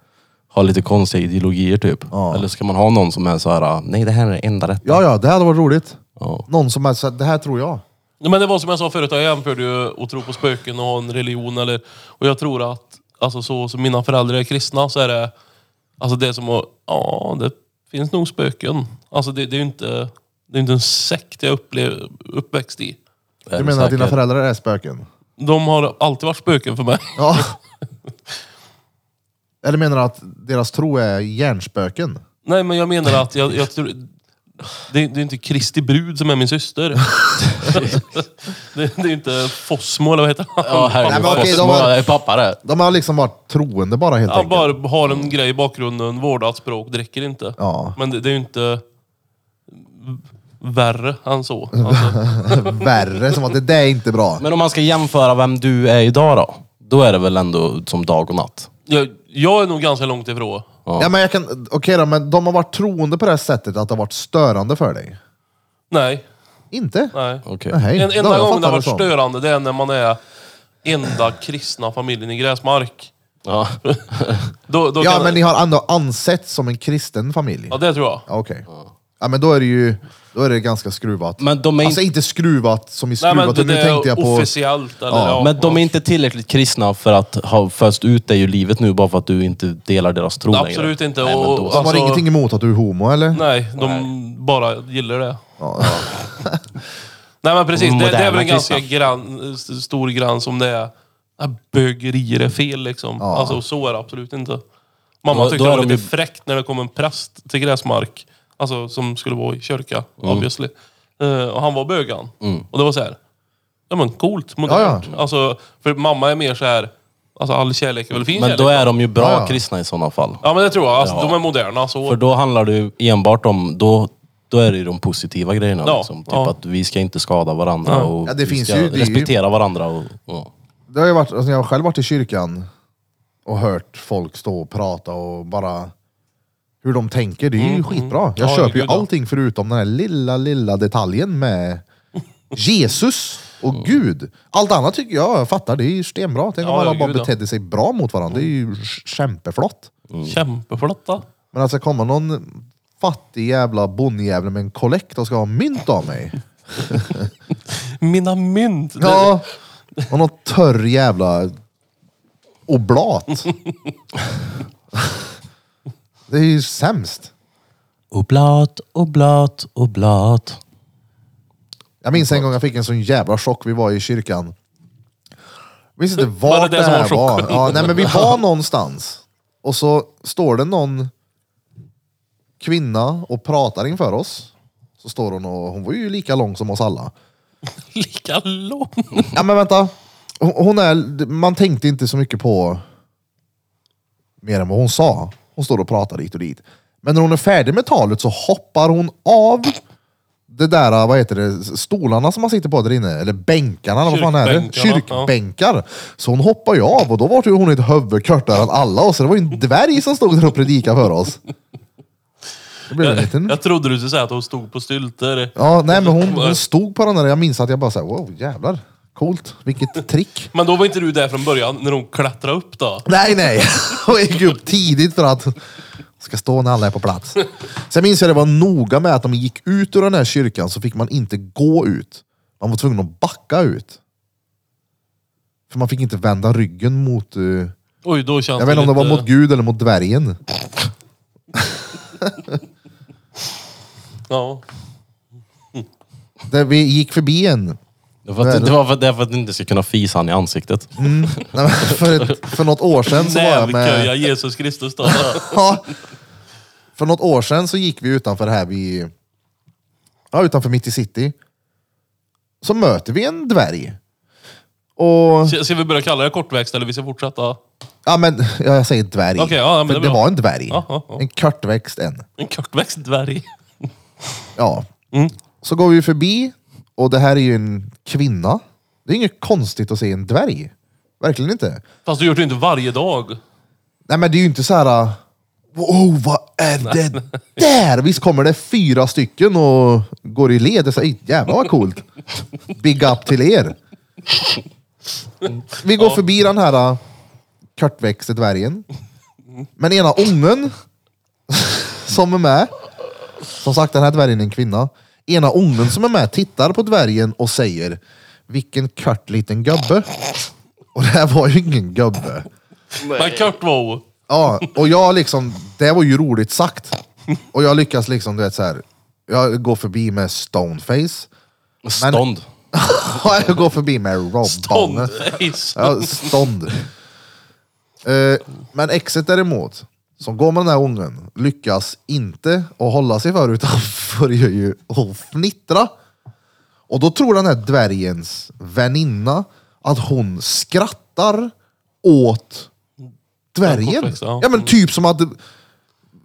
har lite konstiga ideologier typ. Eller ska man ha någon som är så här, nej det här är det enda rätta. Ja, ja, det hade varit roligt. Ja. Någon som är så här, det här tror jag. Nej, Men det var som jag sa förut, jag jämförde ju att tro på spöken och ha en religion. Eller, och jag tror att, alltså så som mina föräldrar är kristna, så är det, alltså det är som att, ja det finns nog spöken. Alltså det, det är ju inte, det är inte en sekt jag upplev, uppväxt i. Är Du det menar att dina säkert? föräldrar är spöken? De har alltid varit spöken för mig. Ja. Eller menar du att deras tro är hjärnspöken? Nej men jag menar att jag, jag tror... Det, är- det är inte Kristi brud som är min syster. det, det är inte Fossmo eller vad heter han? Ja, herregud. Nej, Nej, men okej, de har- var... är pappa det. De har liksom varit troende bara helt Han enkelt. bara har en grej i bakgrunden, vårdat språk, dricker inte. Mm. Ja. Men det, det är ju inte värre än så. Alltså, Värre, som att det där är inte bra. Men om man ska jämföra vem du är idag då? Då är det väl ändå som dag och natt? jag, jag är nog ganska långt ifrån. Ja, men jag kan, okej då, men de har varit troende på det här sättet att det har varit störande för dig? Nej, Inte? nej. Okej. Nej, En, då har jag enda fattat gången det har varit som. störande, det är när man är enda kristna familjen i Gräsmark. Ja. Då, då Ja, kan, men ni har ändå ansetts som en kristen familj? ja, Ja, det tror jag. Okej. Ja, men då är det ju då är det ganska skruvat. Men de är Alltså inte skruvat som i Nej, men skruvat, det, nu det tänkte är jag på... officiellt. Eller, Ja, ja, Men de är inte tillräckligt kristna för att ha föst ut dig ur livet nu bara för att du inte delar deras tro längre. Absolut inte. Nej, men och, då- De har alltså, ingenting emot att du är homo eller? Nej, de bara gillar det. Ja. Nej men precis, det, det är väl Moderna en ganska kristna. grann, s- stor gräns om det är att bögerier är fel liksom. Ja. Alltså så är det absolut inte. Mamma Då- tyckte då det är var de lite ju- fräckt när det kom en präst till Gräsmark. Alltså som skulle vara i kyrka, Mm. obviously. Eh, och han var bögan. Och det var så här. Ja men coolt, modernt. Alltså, för mamma är mer så här. Alltså all kärlek är väl fin Men kärlek? då är de ju bra Ja, ja. kristna i sådana fall. Ja men det tror jag. Alltså, Ja. De är moderna. Så. För då handlar det ju enbart om, då, då är det ju de positiva grejerna. Ja, Liksom. Typ ja. att vi ska inte skada varandra och Ja, det vi finns ska ju- det är ju- respektera varandra. Och, och. Det har ju varit, alltså jag har själv varit i kyrkan och hört folk stå och prata och bara hur de tänker. Det är ju skitbra. Jag Mm, Ja, köper ju gud, ja. allting förutom den här lilla, lilla detaljen med Jesus och Gud. Allt annat tycker jag, jag fattar, det är ju stenbra. Tänk om Mm. Ja, ja, alla bara gud, ja. Mm. betedde sig bra mot varandra. Det är ju ch- kämpeflott. Kämpeflotta. Men att det ska komma någon fattig jävla bonnjävel med en kollekt och ska ha mynt av mig. Mina mynt. Ja, och någon törr jävla oblat. Det är ju sämst. Oblat, oblat, oblat. Jag minns en gång jag fick en sån jävla chock. Vi var i kyrkan. Jag minns inte vart det det, det som var här var. chocken? Ja, nej, men vi var någonstans. Och så står det någon kvinna och pratar inför oss. Så står hon och hon var ju lika lång som oss alla. Lika lång. Ja men vänta. Hon hon är, man tänkte inte så mycket på mer än vad hon sa. Hon står och pratar hit och dit. Men när hon är färdig med talet så hoppar hon av det där, vad heter det, stolarna som man sitter på där inne. Eller bänkarna, eller vad fan är det? Kyrkbänkarna, Kyrkbänkar. Så hon hoppar ju av och då var ju hon ett huvud kortare än alla oss. Så det var ju en dvärg som stod där och predikade för oss. Det blev en liten... Jag trodde du skulle säga att hon stod på stylter. Ja, nej men hon, hon stod på den där, jag minns att jag bara såhär, wow jävlar. Coolt, vilket trick. Men då var inte du där från början, när hon klättrade upp då. Nej, nej. Hon gick upp tidigt för att ska stå när alla är på plats. Sen minns jag det var noga med att om man gick ut ur den här kyrkan så fick man inte gå ut. Man var tvungen att backa ut. För man fick inte vända ryggen mot... eh, Oj, då känns jag vet inte om det lite... var mot Gud eller mot dvärgen. Ja. Där vi gick förbi en. Det var, att, det var för, det var för att du inte ska kunna fisa han i ansiktet. Mm. Nej, men För, ett, för något år sedan så var jag med... Nävköja Jesus Kristus då. Ja. För något år sedan så gick vi utanför här vid... Ja, utanför mitt i city. Så möter vi en dvärg. Och... Ska ska vi börja kalla det kortväxt eller vi ska fortsätta? Ja, men ja, jag säger dvärg. Okej, ja, men För det är det, bra. var en dvärg. Ja, ja, ja. En kortväxt en. En kortväxt dvärg. Ja. Mm. Så går vi förbi och det här är ju en kvinna. Det är inget konstigt att se en dvärg. Verkligen inte. Fast du gör det inte varje dag. Nej men det är ju inte så här. äh, Wow, vad är det där? Visst kommer det fyra stycken och går i led. Det är så här, "Ey, Jävlar vad coolt. Big up till er. Vi går förbi den här äh, kortväxte dvärgen. Men ena ungen som är med. Som sagt, den här dvärgen är en kvinna. Ena ungen som är med tittar på dvärgen och säger Vilken kort liten gubbe. Och det här var ju ingen gubbe. Men kort var hon. Ja, och jag liksom, det var ju roligt sagt. Och jag lyckas liksom, du vet så här. jag går förbi med stoneface. Stånd. Ja, jag går förbi med robbane. Tondface. Ja, stånd. Eh, men exet däremot, som går med den här ungen, lyckas inte att hålla sig för utan börjar ju att fnittra. Och då tror den här dvärgens väninna att hon skrattar åt Ja, dvärgen. komplex, ja. Ja men typ som att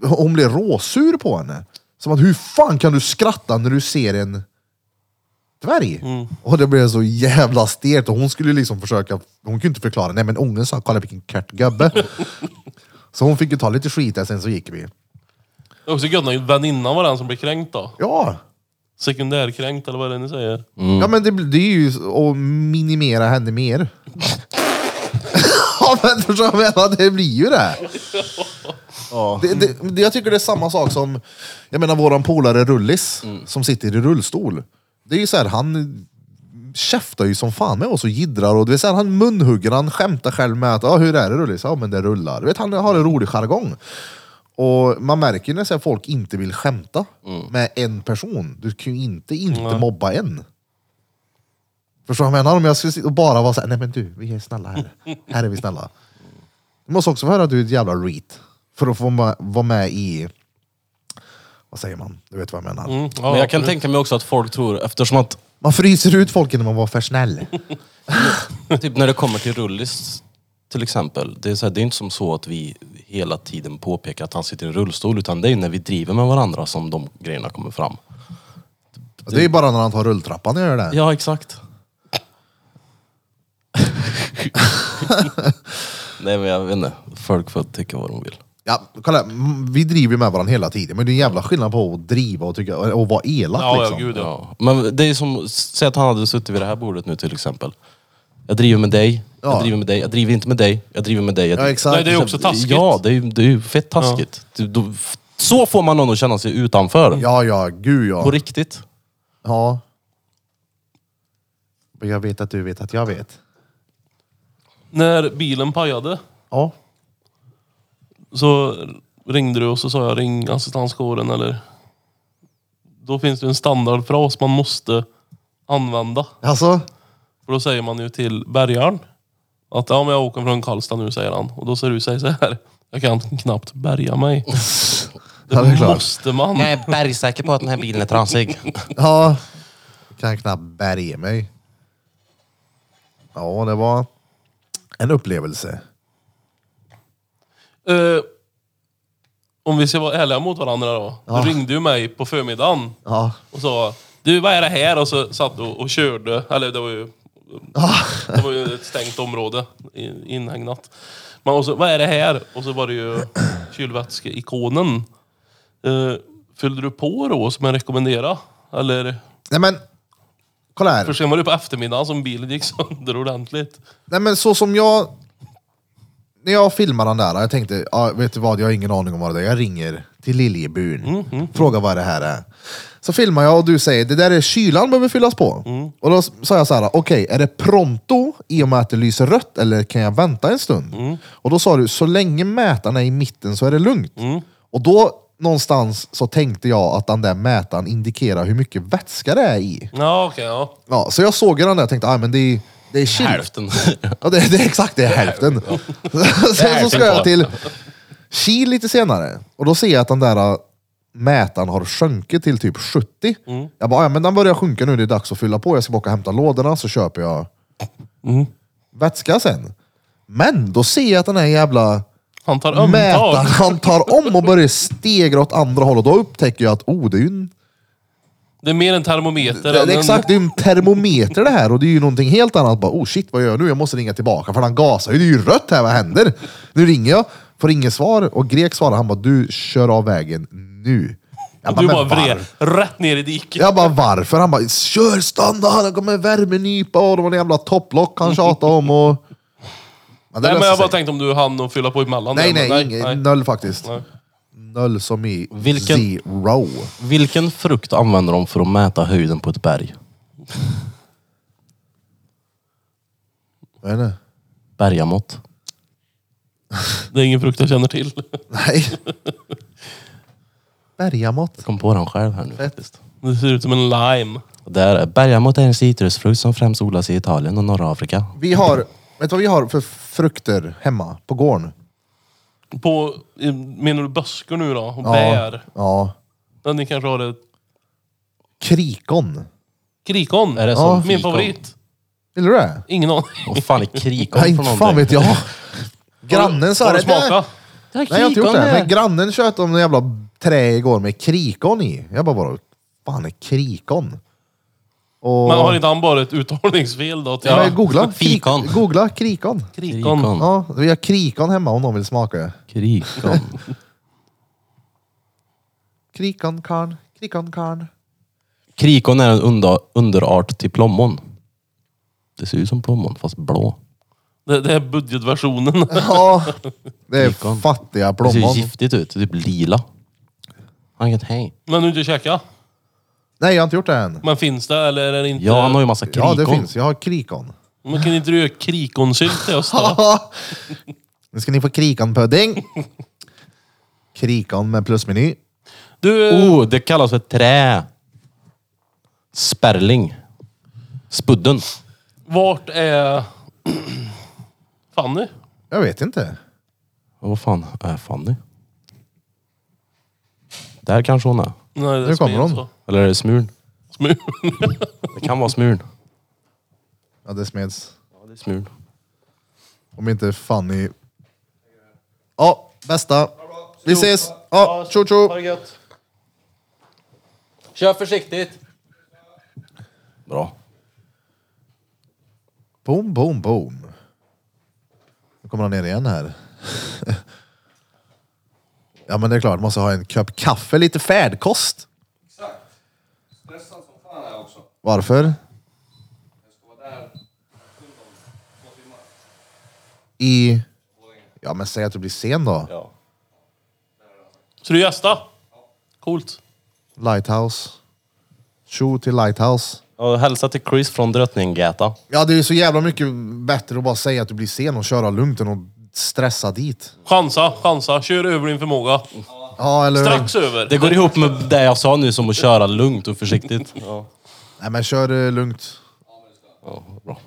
hon blir råsur på henne. Som att hur fan kan du skratta när du ser en dvärg? Mm. Och det blev så jävla stelt och hon skulle liksom försöka, hon kunde inte förklara. Nej men ungen sa, kolla vilken kört gubbe. så hon fick ju ta lite skit där sen så gick vi. Det är också gött när väninnan var den som blev kränkt då. Ja, Sekundärkränkt eller vad det är ni säger. ja men det, bl- det är ju att minimera henne mer. ja men förstår du vad jag menar? Det blir ju det. Det, det, det. Jag tycker det är samma sak som, jag menar våran polare Rullis som sitter i rullstol. Det är ju så här, han käftar ju som fan med oss och jiddrar och det är så här, han munhugger, han skämtar själv med att ja hur är det Rullis? Ja men det rullar. Du vet, han har en rolig jargong. Och man märker ju när så här, folk inte vill skämta med en person. Du kan ju inte inte mobba en. Förstår du vad jag menar? Om jag skulle sitta och bara vara såhär, nej men du, vi är snälla här. Här är vi snälla. Du måste också få höra att du är ett jävla reet. För att få ma- vara med i... Vad säger man? Du vet vad jag menar. Mm, ja, Men jag kan absolut. tänka mig också att folk tror, eftersom att Man fryser ut folk när man var för snäll. Typ när det kommer till Rullis till exempel. Det är, så här, det är inte som så att vi hela tiden påpekar att han sitter i en rullstol. Utan det är när vi driver med varandra som de grejerna kommer fram. Det är ju bara när han tar rulltrappan jag gör det. Ja, exakt. Nej men jag vet inte. Folk får tycka vad de vill. Ja, kolla, mm, vi driver ju med varandra hela tiden, men det är en jävla skillnad på att driva och, tycka, och vara elak. Ja, liksom. ja, gud ja. Ja. Men det är som, säg att han hade suttit vid det här bordet nu till exempel. Jag driver med dig, Ja. jag driver med dig, jag driver inte med dig, jag driver med dig. Jag Ja, driver... exakt. Nej, det är ju också taskigt. Ja, det är, ju- det är ju fett taskigt. Du, då, f- så får man någon att känna sig utanför. ja, ja, gud På ja. riktigt. ja. Men jag vet att du vet att jag vet. När bilen pajade Ja, så ringde du och så sa jag ring assistanskåren eller... Då finns det en standardfras man måste använda. alltså. För då säger man ju till bärgaren att ja, men jag åker från Karlstad nu, säger han. Och då säger du säg så här. Jag kan knappt bärga mig. Det, Ja, det är klart. måste man. Jag är bergsäker på att den här bilen är trasig. Ja. Kan knappt bärga mig. Ja, det var en upplevelse. Eh, om vi ska vara ärliga mot varandra då. Du ringde ju mig på förmiddagen Ja. och sa du vad är det här? Och så satt du och körde. Eller det var ju, Ah. det var ju ett stängt område i- inhägnat. Men och så, vad är det här? Och så var det ju kylvätskeikonen. Eh, fyllde du på då som jag rekommenderar? Eller? Nej men, kolla här. För sen var det på eftermiddagen som bilen gick sönder ordentligt. Nej men så som jag... När jag filmade den där, jag tänkte, ja, vet du vad, jag har ingen aning om vad det är. Jag ringer till Liljebyn, frågar vad det här är. Så filmar jag och du säger, det där är kylan behöver fyllas på. Och då sa jag så här, okej, är det pronto i och med att det lyser rött eller kan jag vänta en stund? Och då sa du, så länge mätaren är i mitten så är det lugnt. Och då någonstans så tänkte jag att den där mätaren indikerar hur mycket vätska det är i. Ja, okej. ja. Ja, så jag såg ju den där och tänkte, ah, men det är, det är kyl. Hälften. Ja, det, det är exakt det, är hälften. Sen så hälften ska jag kvar. till Kil lite senare och då ser jag att den där äh, mätaren har sjunkit till typ 70. Mm. Jag bara, ja, men den börjar sjunka nu, det är dags att fylla på. Jag ska bara åka och hämta lådorna så köper jag Mm. vätska sen. Men då ser jag att den här jävla Han tar ömtag. mätaren han tar om och börjar stegra åt andra hållet. Då upptäcker jag att oh, det är ju en, Det är mer en termometer det, än det, är exakt, en... det är ju en termometer det här och det är ju någonting helt annat. Bara, oh shit, vad gör jag nu? Jag måste ringa tillbaka för han gasar ju. Det är ju rött här, vad händer? Nu ringer jag, får inget svar och Grek svarar, han bara, du kör av vägen nu. Jag Och du "Men bara var- vred rätt ner i diket. jag bara varför? Han bara kör standard, han kommer värmenypa och det var en jävla topplock han tjatade om och... Men det nej, men löser jag bara sig. tänkte om du hann och fylla på emellan. nej, där, men nej, ingen- noll faktiskt. Nej. Noll som i Vilken- zero. Vilken frukt använder de för att mäta höjden på ett berg? Vad är det? Bergamått. Det är ingen frukt jag känner till. Nej. Bergamått. Kom på den själv här nu. Fett. Det ser ut som en lime. Där, är- bergamått är en citrusfrukt som främst odlas i Italien och norra Afrika. Vi har, vet du vad vi har för frukter hemma på gården? På, i- menar du böskor nu då? Och bär? Ja. Men ni kanske har ett Krikon. krikon? Är det Ja, som Min fikon? favorit. Vill du det? Ingen aning. Vad fan är krikon Nej, inte för fan någonting? vet jag. Grannen sa Har du det. smakat? Nej, jag har inte gjort det. Men grannen tjöt om en jävla trä igår med krikon i. Jag bara, vadå? Fan är krikon? Och... Men har inte han bara ett uttalningsfel då? Till Ja, men googla. Fikon. Krik, googla krikon. krikon. Ja, vi har krikon hemma om någon vill smaka. Krikon. Krikon karn. Krikon karn. Krikon är en under, underart till plommon. Det ser ut som plommon fast blå. Det, det är budgetversionen. Ja, det är Krikon. fattiga Det ser ju plommon. giftigt ut. Typ lila. Han kan hej. Men du har inte käkat? Nej, jag har inte gjort det än. Men finns det eller är det inte? Ja, han har ju massa krikon. Ja, det finns. Jag har krikon. Men kan inte du göra krikonsylt till oss då? nu ska ni få krikonpudding. Krikon med plusmeny. Du, eh, Oh, det kallas för trä. Spärling. Spudden. vart är Fanny? Jag vet inte. Och vad fan är Fanny? Där kanske hon är. Nej, det är Nu kommer Smil, hon. så. Eller är det Smurn? Smil. Det kan vara Smurn. Ja, det smeds. Ja, det är Smurn. Om inte Fanny... Ja, bästa. Vi ses! Ja, tjo tjo! det gött. Kör försiktigt. Bra. Boom, boom, boom. Nu kommer han ner igen här. ja men det är klart, måste ha en kopp kaffe, lite färdkost. Exakt. Stressad som fan är jag också. Varför? Jag ska vara där om två timmar. I... Ja men säg att du blir sen då. Ja. Så du gästa? Coolt. Lighthouse. Tjo till Lighthouse. Och hälsa till Chris från Drottninggatan. Ja det är ju så jävla mycket bättre att bara säga att du blir sen och köra lugnt än att stressa dit. Chansa, chansa. Kör över din förmåga. Ja eller... Strax över. Det går ihop med det jag sa nu som att köra lugnt och försiktigt. Ja. Nej men kör eh, lugnt. Bra.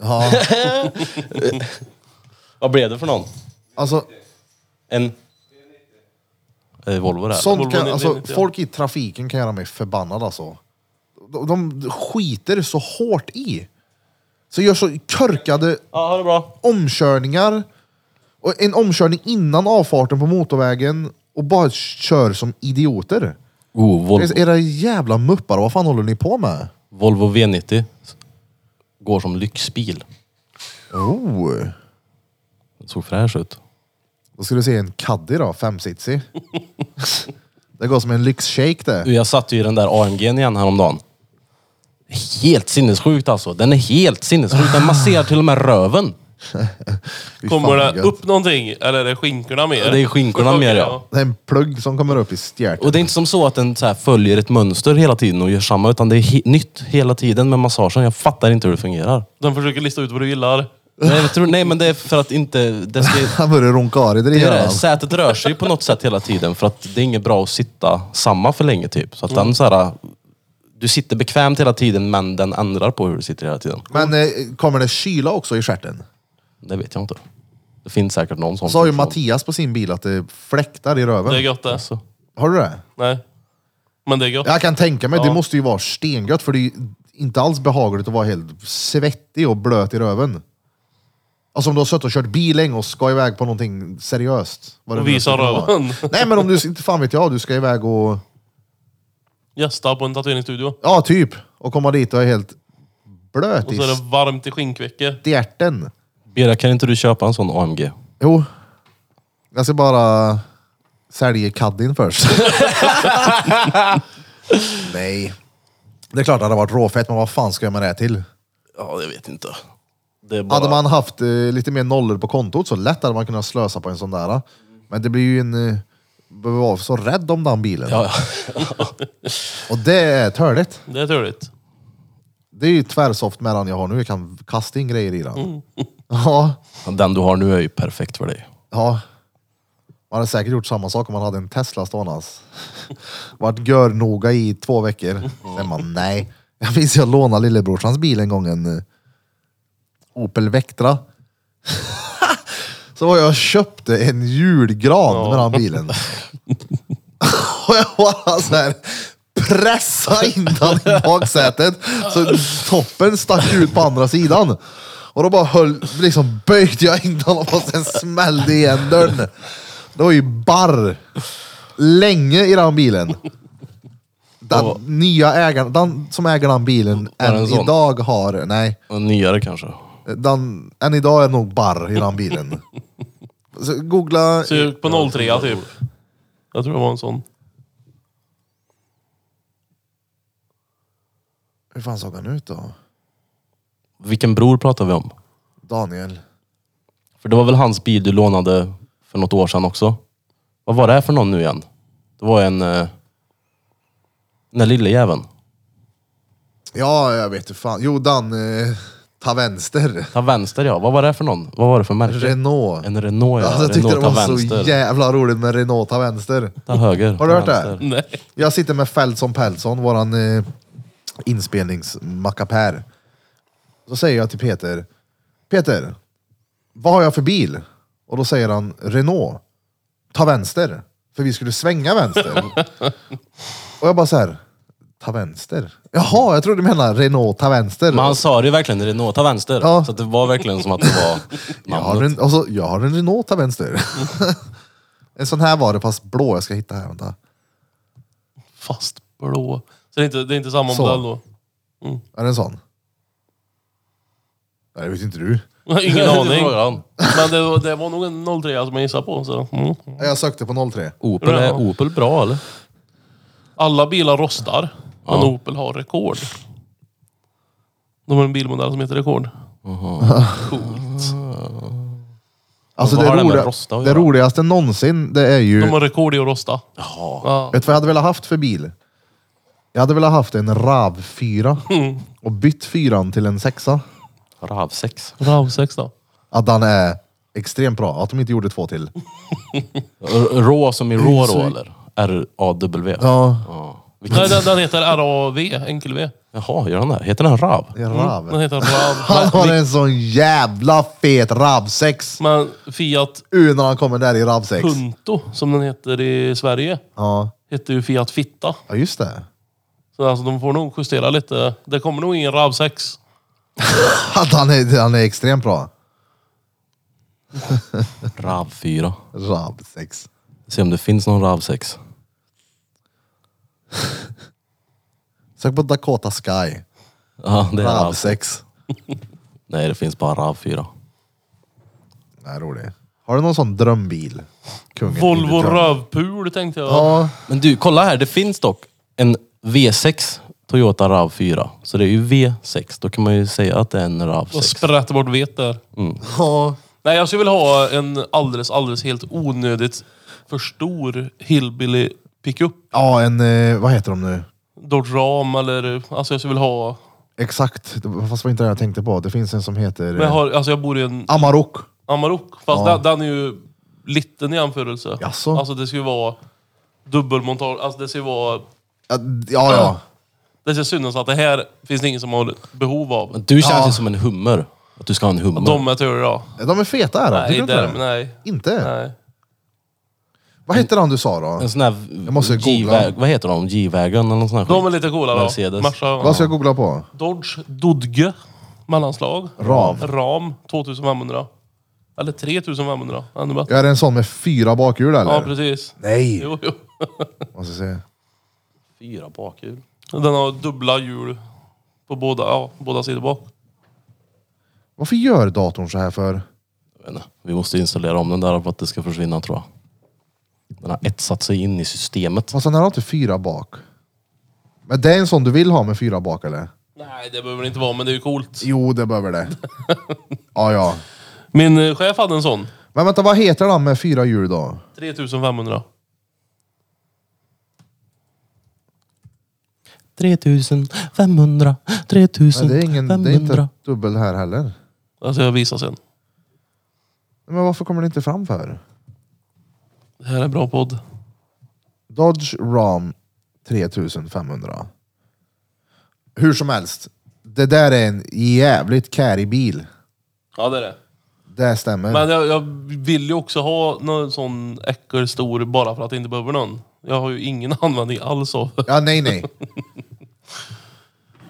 Ja, Vad blev det för någon? alltså, En... Eh, Volvo där. sånt kan, Volvo alltså 990, ja. folk i trafiken kan göra mig förbannad alltså. De, de skiter så hårt i. Så gör så körkade Ja, ha det bra. omkörningar. Och en omkörning innan avfarten på motorvägen och bara kör som idioter. Oh, Volvo, Era jävla muppar, vad fan håller ni på med? Volvo V90 går som lyxbil. Oh. Det såg fräsch ut. Då ska du se en Caddy då, femsitsig. det går som en lyxshake det. Du, jag satt ju i den där AMG'n igen häromdagen. Helt sinnessjukt alltså. Den är helt sinnessjuk. Den masserar till och med röven. Fy fan, Kommer vad det gött. upp någonting? Eller är det skinkorna mer? Det är skinkorna Okej, mer, ja. Det är en plugg som kommer upp i stjärten. Och det är inte som så att den så här följer ett mönster hela tiden och gör samma, utan det är he- nytt hela tiden med massagen. Jag fattar inte hur det fungerar. De försöker lista ut vad du gillar. Nej, jag tror, nej men det är för att inte... Det ska, Han börjar runka av i det det är redan. det. Sätet rör sig på något sätt hela tiden för att det är inget bra att sitta samma för länge typ. Så att Mm. den så här, du sitter bekvämt hela tiden men den ändrar på hur du sitter hela tiden. Men eh, kommer det kyla också i stjärten? Det vet jag inte. Det finns säkert någon sån. Sa ju funktion. Mattias på sin bil att det fläktar i Det är röven. gött det. Alltså. Har du det? Nej. Men det är gött. Jag kan tänka mig, det måste ju vara stengött för det är ju inte alls behagligt att vara helt svettig och blöt i röven. Alltså om du har suttit och kört bil länge och ska iväg på någonting seriöst. Vad det Och nu visa kan vara. röven. Nej men om du, inte fan vet jag, du ska iväg och Gästa på en tatueringsstudio. Ja, typ. Och komma dit och är helt blöt Och i så är det varmt i skinkvecke. stjärten. Bera, kan inte du köpa en sån AMG? Jo. Jag ska bara sälja caddien först. Nej. Det är klart det hade varit råfett, men vad fan ska jag med det här till? Ja, jag vet inte. Det är Hade man haft eh, lite mer nollor på kontot så lätt hade man kunnat slösa på en sån där. eh. Men det blir ju en... Eh, behöver vara så rädd om den bilen. Ja, Och det är törligt. Det är turligt. Det är ju tvärsoft med den jag har nu. Jag kan kasta in grejer i den. Ja. ja. Den du har nu är ju perfekt för dig. Ja. Man hade säkert gjort samma sak om man hade en Tesla ståendes. Vart gör noga i två veckor. Sen man, nej. Jag minns jag lånade lillebrorsans bil en gång, en eh, Opel Vectra. Så var jag och köpte en julgran med den bilen. Och jag bara så här pressa in den i baksätet så toppen stack ut på andra sidan. Och då bara höll, liksom böjde jag in den och sen smällde igen dörren. Det var ju barr länge i den bilen. Den nya ägaren, den som äger den bilen Var det en än sån? idag har, nej, En nyare kanske. den, än idag är nog barr i den bilen. Så googla, Sug på 03 typ. Jag tror det var en sån. hur fan såg han ut då? Vilken bror pratar vi om? Daniel. För det var väl hans bil du lånade för något år sedan också? Vad var det här för någon nu igen? Det var en... eh, Den där lille jäveln. Ja, jag vet inte fan. Jo, Dan, eh, ta vänster. Ta vänster ja. Vad var det för någon? Vad var det för märke? Renault. En Renault ja. Alltså, jag tyckte det Renault ta var vänster. så jävla roligt med Renault ta vänster. Ta höger. Har du hört det? Nej. Jag sitter med Feltson Peltson, våran eh, inspelningsmackapär. Så säger jag till Peter, Peter, vad har jag för bil? Och då säger han Renault, ta vänster. För vi skulle svänga vänster. Och jag bara så här, ta vänster? Jaha, jag trodde du menade Renault ta vänster. Men han sa det ju verkligen, Renault ta vänster. Ja. Så att det var verkligen som att det var Jag har, namnet. en, alltså, jag har en Renault till vänster. en sån här var det, fast blå. Jag ska hitta här. Vänta. Fast blå. Så det är inte, det är inte samma Så. modell då? Är det en sån? Nej, det vet inte du. Ingen aning. Frågar han. Men det, var- det var nog en 03 som jag gissade på. Så. Mm. Jag sökte på 03. Opel, är Opel bra eller? Alla bilar rostar, men Opel har rekord. De har en bilmodell som heter rekord. Coolt. Alltså Vad det, har det med roliga, rosta att det göra? roligaste någonsin, det är ju... De har rekord i att rosta. Ja. Vet du vad jag hade velat haft för bil? Jag hade velat haft en RAV4 Mm. och bytt fyran till en sexa. Ravsex. RAV6 då? Att den är extremt bra. Att de inte gjorde två till. R- Rå som i rå så- rå eller? R-A-W. Ja, Vilken... Nej, den, den heter RAV, enkel-V. Jaha, gör den det? Heter den RAV? en RAV. Den heter RAV. Han har en sån jävla fet RAV6. Men Fiat U när han kommer där i RAV6. Punto, som den heter i Sverige, Ja. heter ju Fiat Fitta. ja, just det. Så alltså, de får nog justera lite. Det kommer nog ingen RAV6. Att han är, han är extremt bra. RAV 4. RAV6. Se om det finns någon RAV 6. Sök på Dakota Sky. Ja, alltså. det är RAV. RAV6. Nej, det finns bara RAV 4. Nej, rolig. Har du någon sån drömbil? Kungen Volvo i dröm. Rövpul tänkte jag. Ja, Men du, kolla här. Det finns dock en V6 Toyota RAV 4. Så det är ju V6. Då kan man ju säga att det är en RAV Och 6. sprätter bort vet där. ja. Nej, jag skulle vilja ha en alldeles, alldeles helt onödigt för stor hillbilly pickup. ja, en... eh, Vad heter de nu? Dodge Ram eller... Alltså jag skulle vilja ha... Exakt, Det var- fast det var inte det jag tänkte på. Det finns en som heter Men jag, har... har, alltså jag bor i en Amarok. Amarok. Fast Ja. den, den är ju liten i jämförelse. Jaså? Alltså det ska ju vara dubbelmontage. Alltså det ska ju vara... Ja, ja. ja. Det ska synas att det här finns det ingen som har behov av. Men du känns Ja. ju som en hummer. Att du ska ha en hummer. De är tur idag. De är feta är de. Nej, Tycker du inte där, det? nej. Inte? Nej. Vad heter han du sa då? En sån här... Jag måste googla. G-vä- Vad heter de? G-vägen eller någon sån här De är skit. lite coola då. Mercedes. Merca, Vad ska jag googla på? Dodge Dodge. Mellanslag. Ram. Ram 2500. Eller 3500. Ännu bättre. Är det en sån med fyra bakhjul eller? Ja, precis. Nej! Jo, jo. Måste se. Fyra bakhjul. Den har dubbla hjul på båda, ja, båda sidor bak. Varför gör datorn så här för? Jag vet inte. Vi måste installera om den där för att det ska försvinna tror jag. Den har etsat sig in i systemet. Fast den här har inte fyra bak. Men det är en sån du vill ha med fyra bak eller? Nej, det behöver det inte vara, men det är ju coolt. Jo, det behöver det. ja, ja. Min eh, chef hade en sån. Men vänta, vad heter den med fyra hjul då? 3500. 3500, Nej, 3500. det, är ingen, det är inte dubbel här heller. Alltså jag visar sen. Men varför kommer det inte fram för? Det här är en bra podd. Dodge Ram 3500. Hur som helst, det där är en jävligt kärig bil. Ja, det är det. Det stämmer. Men jag, jag vill ju också ha någon sån äckelstor bara för att jag inte behöver någon. Jag har ju ingen användning alls av Ja, nej, nej.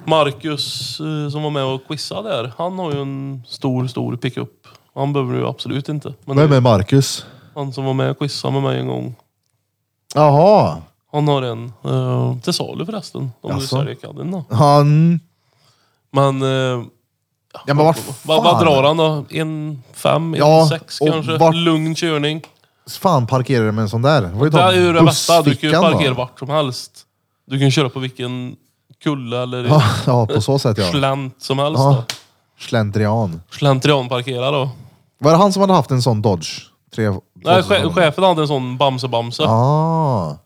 Marcus eh, som var med och quizade där, han har ju en stor, stor pickup. Han behöver du ju absolut inte. Men det är Vem är Marcus? han som var med och quizade med mig en gång. Jaha. Han har en eh, till salu förresten. Om Jaså? du säljer kadden då. Han... Men eh, Ja, men vart vad, fan, vad drar han då? En fem, en Ja, sex och kanske? vart- Lugn körning. fan parkerar du med en sån där? Det var ju Det ta är ju det bästa. Du kan ju bussfickan då. parkera vart som helst. Du kan köra på vilken kulle eller Ja, ja, på så sätt ja. slänt som helst. ja. Ja. Slentrian. Slentrianparkera då. Var det han som hade haft en sån Dodge? Tre, Nej, 2000? che- chefen hade en sån Bamse-Bamse. Ah.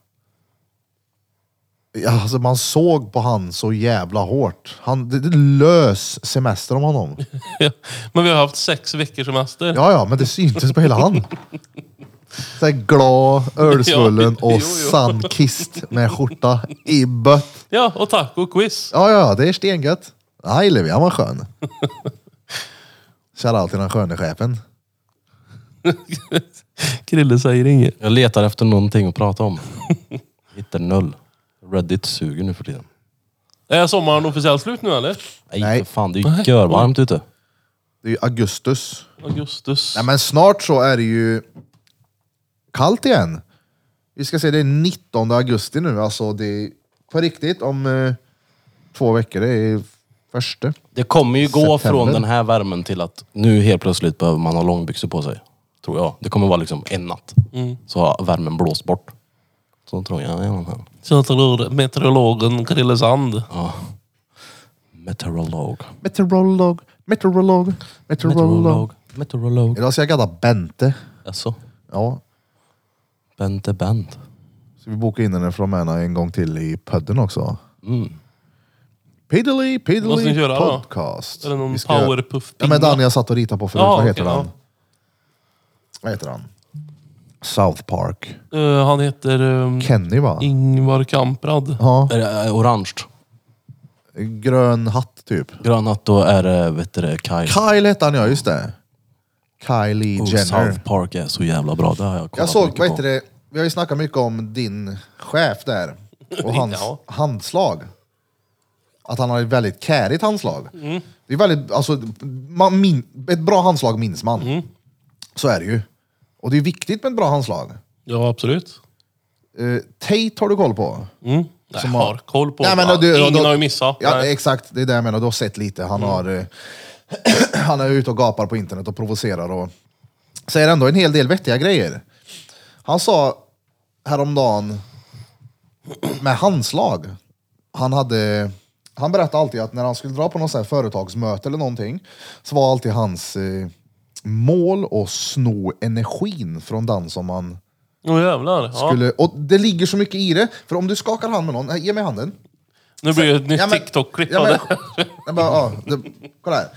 Ja, Alltså man såg på han så jävla hårt. Han, det, det lös semester om honom. Ja, Men vi har haft sex veckors semester. Ja, ja, men det syntes på hela han. Så här glad, ölsvullen Ja, jo, och jo. sandkist med skjorta i bött. Ja, och taco-quiz. Ja, ja, det är stengött. Nej, Levi, han var skön. Shoutout till den sköne chefen. Krille säger inget. Jag letar efter någonting att prata om. Hittar noll. Reddit suger nu för tiden. Är sommaren officiellt slut nu eller? Nej, Nej. för fan. Det är ju görvarmt ute. Det är ju augustus. Augustus. Nej, men snart så är det ju kallt igen. Vi ska se, det är 19 augusti nu. Alltså det är på riktigt om eh, två veckor. Det är Första. Det kommer ju gå September. från den här värmen till att nu helt plötsligt behöver man ha långbyxor på sig. Tror jag. Det kommer vara liksom en natt. Så har värmen blåst bort. Så tror jag. Ja, men- Så tror meteorologen Krille Sand. Meteorolog. Meteorolog, meteorolog, meteorolog. Meteorolog. Meteorolog. Idag ska jag gadda Bente. Alltså, Ja, Bente Bent. så vi bokar in henne från Märna en gång till i podden också. Piddly Mm. Måste Piddly ni köra då? Podcast. Eller någon Vi ska- Ja, powerpuff-pinne. men den jag satt och ritade på förut, Ja, vad heter okej, han? Vad heter han? South Park. Eh, han heter um, Kenny va? Ingvar Kamprad. Ja, Är det eh, orange? grön hatt typ. Grönat då är det, vet du det, Kyle. Kyle hette han ja, just det. Kylie Oh, Jenner. South Park är så jävla bra. Det har jag kollat Jag såg, mycket vad på. heter det, vi har ju snackat mycket om din chef där och hans Ja. handslag. Att han har ett väldigt kärigt handslag. Mm. Det är väldigt, alltså, man min, ett bra handslag minns man. Mm. Så är det ju. Och det är viktigt med ett bra handslag. Ja, absolut. Eh, Tate har du koll på? Mm. Nej, Som har- har koll på. Nej, men Ja, du- du- Ingen du- har ju missat. Ja, Nej. Mm. exakt. Det är det jag menar. Du har sett lite. Han, har, eh, han är ute och gapar på internet och provocerar och säger ändå en hel del vettiga grejer. Han sa häromdagen med handslag. Han, hade, han berättade alltid att när han skulle dra på något så här företagsmöte eller någonting så var alltid hans eh, mål att sno energin från den som man Åh jävlar. Ja. skulle... Och det ligger så mycket i det. För om du skakar hand med någon, nej, ge mig handen. Nu blir det ett nytt Ja, men- TikTok-klipp ja, av men- det. jag bara, ja, det, kolla här.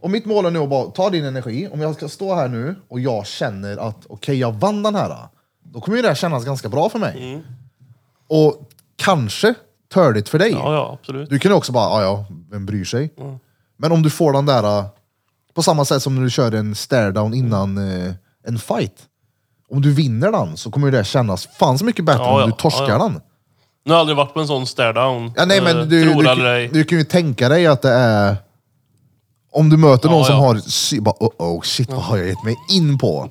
Och mitt mål är nu att bara ta din energi. Om jag ska stå här nu och jag känner att okej, jag vann den här. Då kommer ju det här kännas ganska bra för mig. Mm. Och kanske törligt för dig. Ja, ja, absolut. Du kan ju också bara, ja ja, vem bryr sig? Men om du får den där, eh, på samma sätt som när du kör en stare down innan eh, en fight. Om du vinner den så kommer ju det kännas fan så mycket bättre Ja, ja, om du torskar ja, ja. den. Nu har jag aldrig varit på en sån stare down. Ja, nej, Eh, men du, Tror du, aldrig du, dig. du kan ju tänka dig att det är... Om du möter någon Ja, som ja. har... sy- Bara, oh, oh, shit, vad har jag gett mig in på?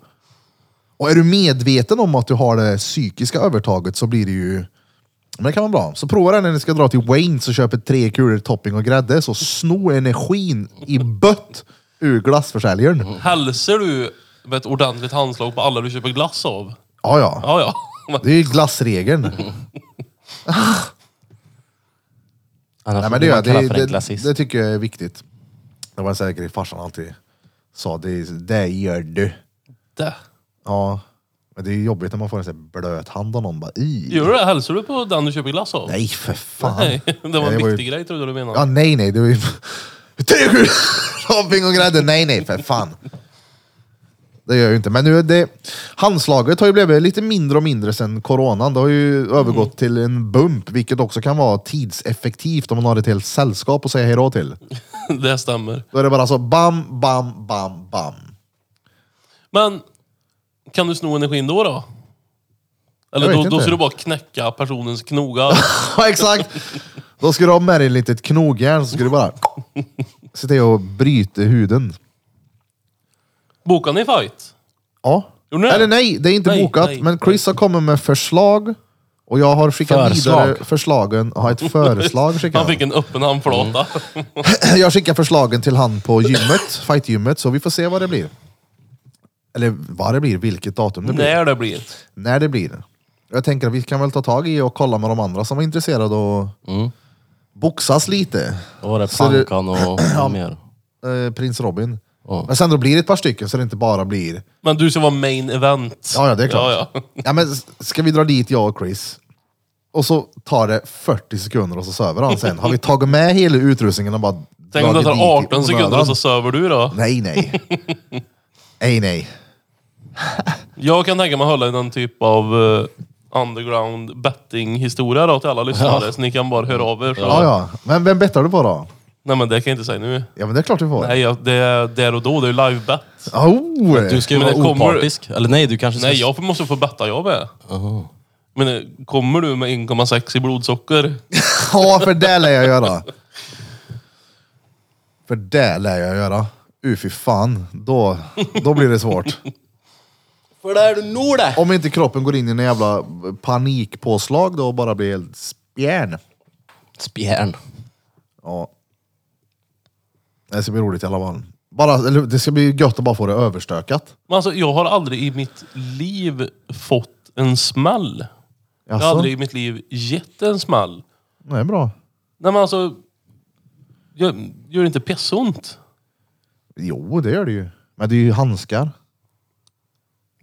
Och är du medveten om att du har det psykiska övertaget så blir det ju... Men det kan vara bra. Så prova den när ni ska dra till Wayne och köper tre kulor topping och grädde. Så sno energin i bött ur glassförsäljaren. Mm. Hälsar du med ett ordentligt handslag på alla du köper glass av? Ja, ja. Ja, ja. Men- Det är ju glassregeln. Annars Nej, blir men det, gör man kallad jag. för en det, det, klassist. det tycker jag är viktigt. Det var en sån här grej farsan alltid sa. Det, det gör du. Det. Ja, men det är jobbigt när man får en sån här blöt hand av någon. Bara, i. Gör du det? Hälsar du på den du köper glass av? Nej, för fan. Nej, det var en ju- viktig grej trodde du menade. Ja, nej, nej. Det var ju... Tre kulor shopping och grädde. Nej, nej, för fan. Det gör jag ju inte. Men nu är det, handslaget har ju blivit lite mindre och mindre sedan coronan. Det har ju Mm. övergått till en bump, vilket också kan vara tidseffektivt om man har ett helt sällskap att säga hejdå till. Det stämmer. Då är det bara så bam, bam, bam, bam. Men kan du sno energin då? då? Eller Jag vet då, då inte. ska du bara knäcka personens knogar. Ja, exakt. Då ska du ha med dig ett litet knogjärn så ska du bara se till att bryta huden. Bokar ni fight? Ja. Gjorde ni det? Eller nej, det är inte Nej, bokat. nej, men Chris har kommit med förslag och jag har skickat Förslag. vidare förslagen. Ja, ett förslag skickade Han jag. Mm. fick en öppen handflata. Jag skickar förslagen till han på gymmet, fightgymmet, så vi får se vad det blir. Eller vad det blir, vilket datum det blir. När det blir. när det blir. Jag tänker att vi kan väl ta tag i och kolla med de andra som är intresserade och Mm. boxas lite. Då var det Så det- plankan och vad mer. Eh, Prins Robin. Ja. Men sen då blir det ett par stycken så det inte bara blir... Men du ska vara main event. Ja, ja, det är klart. Ja, ja. Ja, men s- ska vi dra dit jag och Chris? Och så tar det 40 sekunder och så söver han sen. Har vi tagit med hela utrustningen och bara Tänk om det dragit dit i tar 18 sekunder onödan? och så söver du då. Nej, nej. nej, nej. Jag kan tänka mig att hålla i någon typ av eh, underground betting-historia då till alla lyssnare. Så ni kan bara höra av er. Så. Ja, ja. Men vem bettar du på då? Nej men det kan jag inte säga nu. Ja, men det är klart vi får. Nej, jag, det är där och då. Det är ju live-bet. Oh! Du ska ju Men vara det kommer- opartisk. Eller nej, du kanske ska... Nej, jag måste få betta jag med. Men eh, kommer du med 1,6 i blodsocker? Ja, för det lär jag göra. För det lär jag göra. Uh, fy fan. Då, då blir det svårt. För det är du nog det! Om inte kroppen går in i en jävla panikpåslag då och bara blir helt spjärn. Spjärn. Ja. Det ska bli roligt i alla fall. Bara, eller, det ska bli gött att bara få det överstökat. Men alltså, jag har aldrig i mitt liv fått en smäll. Jag har Jaså? aldrig i mitt liv gett en smäll. Det är bra. Nej men alltså, gör, gör det inte pissont? Jo, det gör det ju. Men det är ju handskar.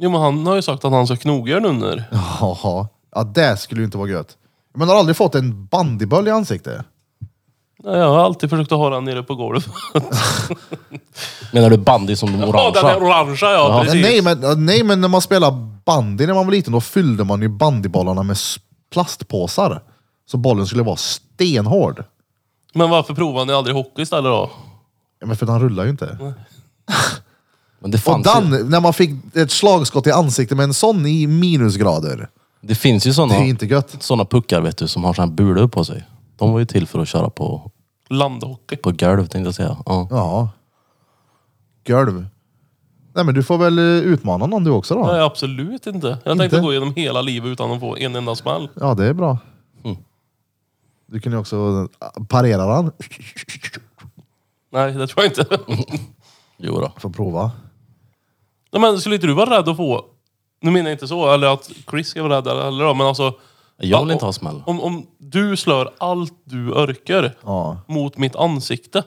Jo men han har ju sagt att han ska knoga den under. Jaha. Ja, det skulle ju inte vara gött. Men har du aldrig fått en bandyböll i ansiktet? Nej, Jag har alltid försökt att ha den nere på golvet. Menar du bandy som de Ja, den är orangea? orangea ja, Ja. precis. Alltså, Nej men, ja, nej, men när man spelade bandy när man var liten, då fyllde man ju bandybollarna med s- plastpåsar. Så bollen skulle vara stenhård. Men varför provar ni aldrig hockey istället då? Ja, Men för den rullar ju inte. Men det, Och fanns ju, den, när man fick ett slagskott i ansiktet med en sån i minusgrader. det finns ju Det är sådana inte gött. såna puckar vet du, som har sådana här bulor på sig. De var ju till för att köra på, Landhockey. på golv tänkte jag säga. Ja. Ja. Golv. Nej men du får väl eh, utmana någon du också då. Nej, absolut inte. Jag tänkte Inte? gå igenom hela livet utan att få en enda smäll. Ja det är bra. Mm. Du kan ju också eh, parera den. Nej, det tror jag inte. Jo då. Får prova. Nej, men skulle inte du vara rädd att få... Nu menar jag inte så, eller att Chris ska vara rädd eller- eller då, men alltså... Jag vill inte ha smäll. Om, om du slår allt du orkar Ja. mot mitt ansikte.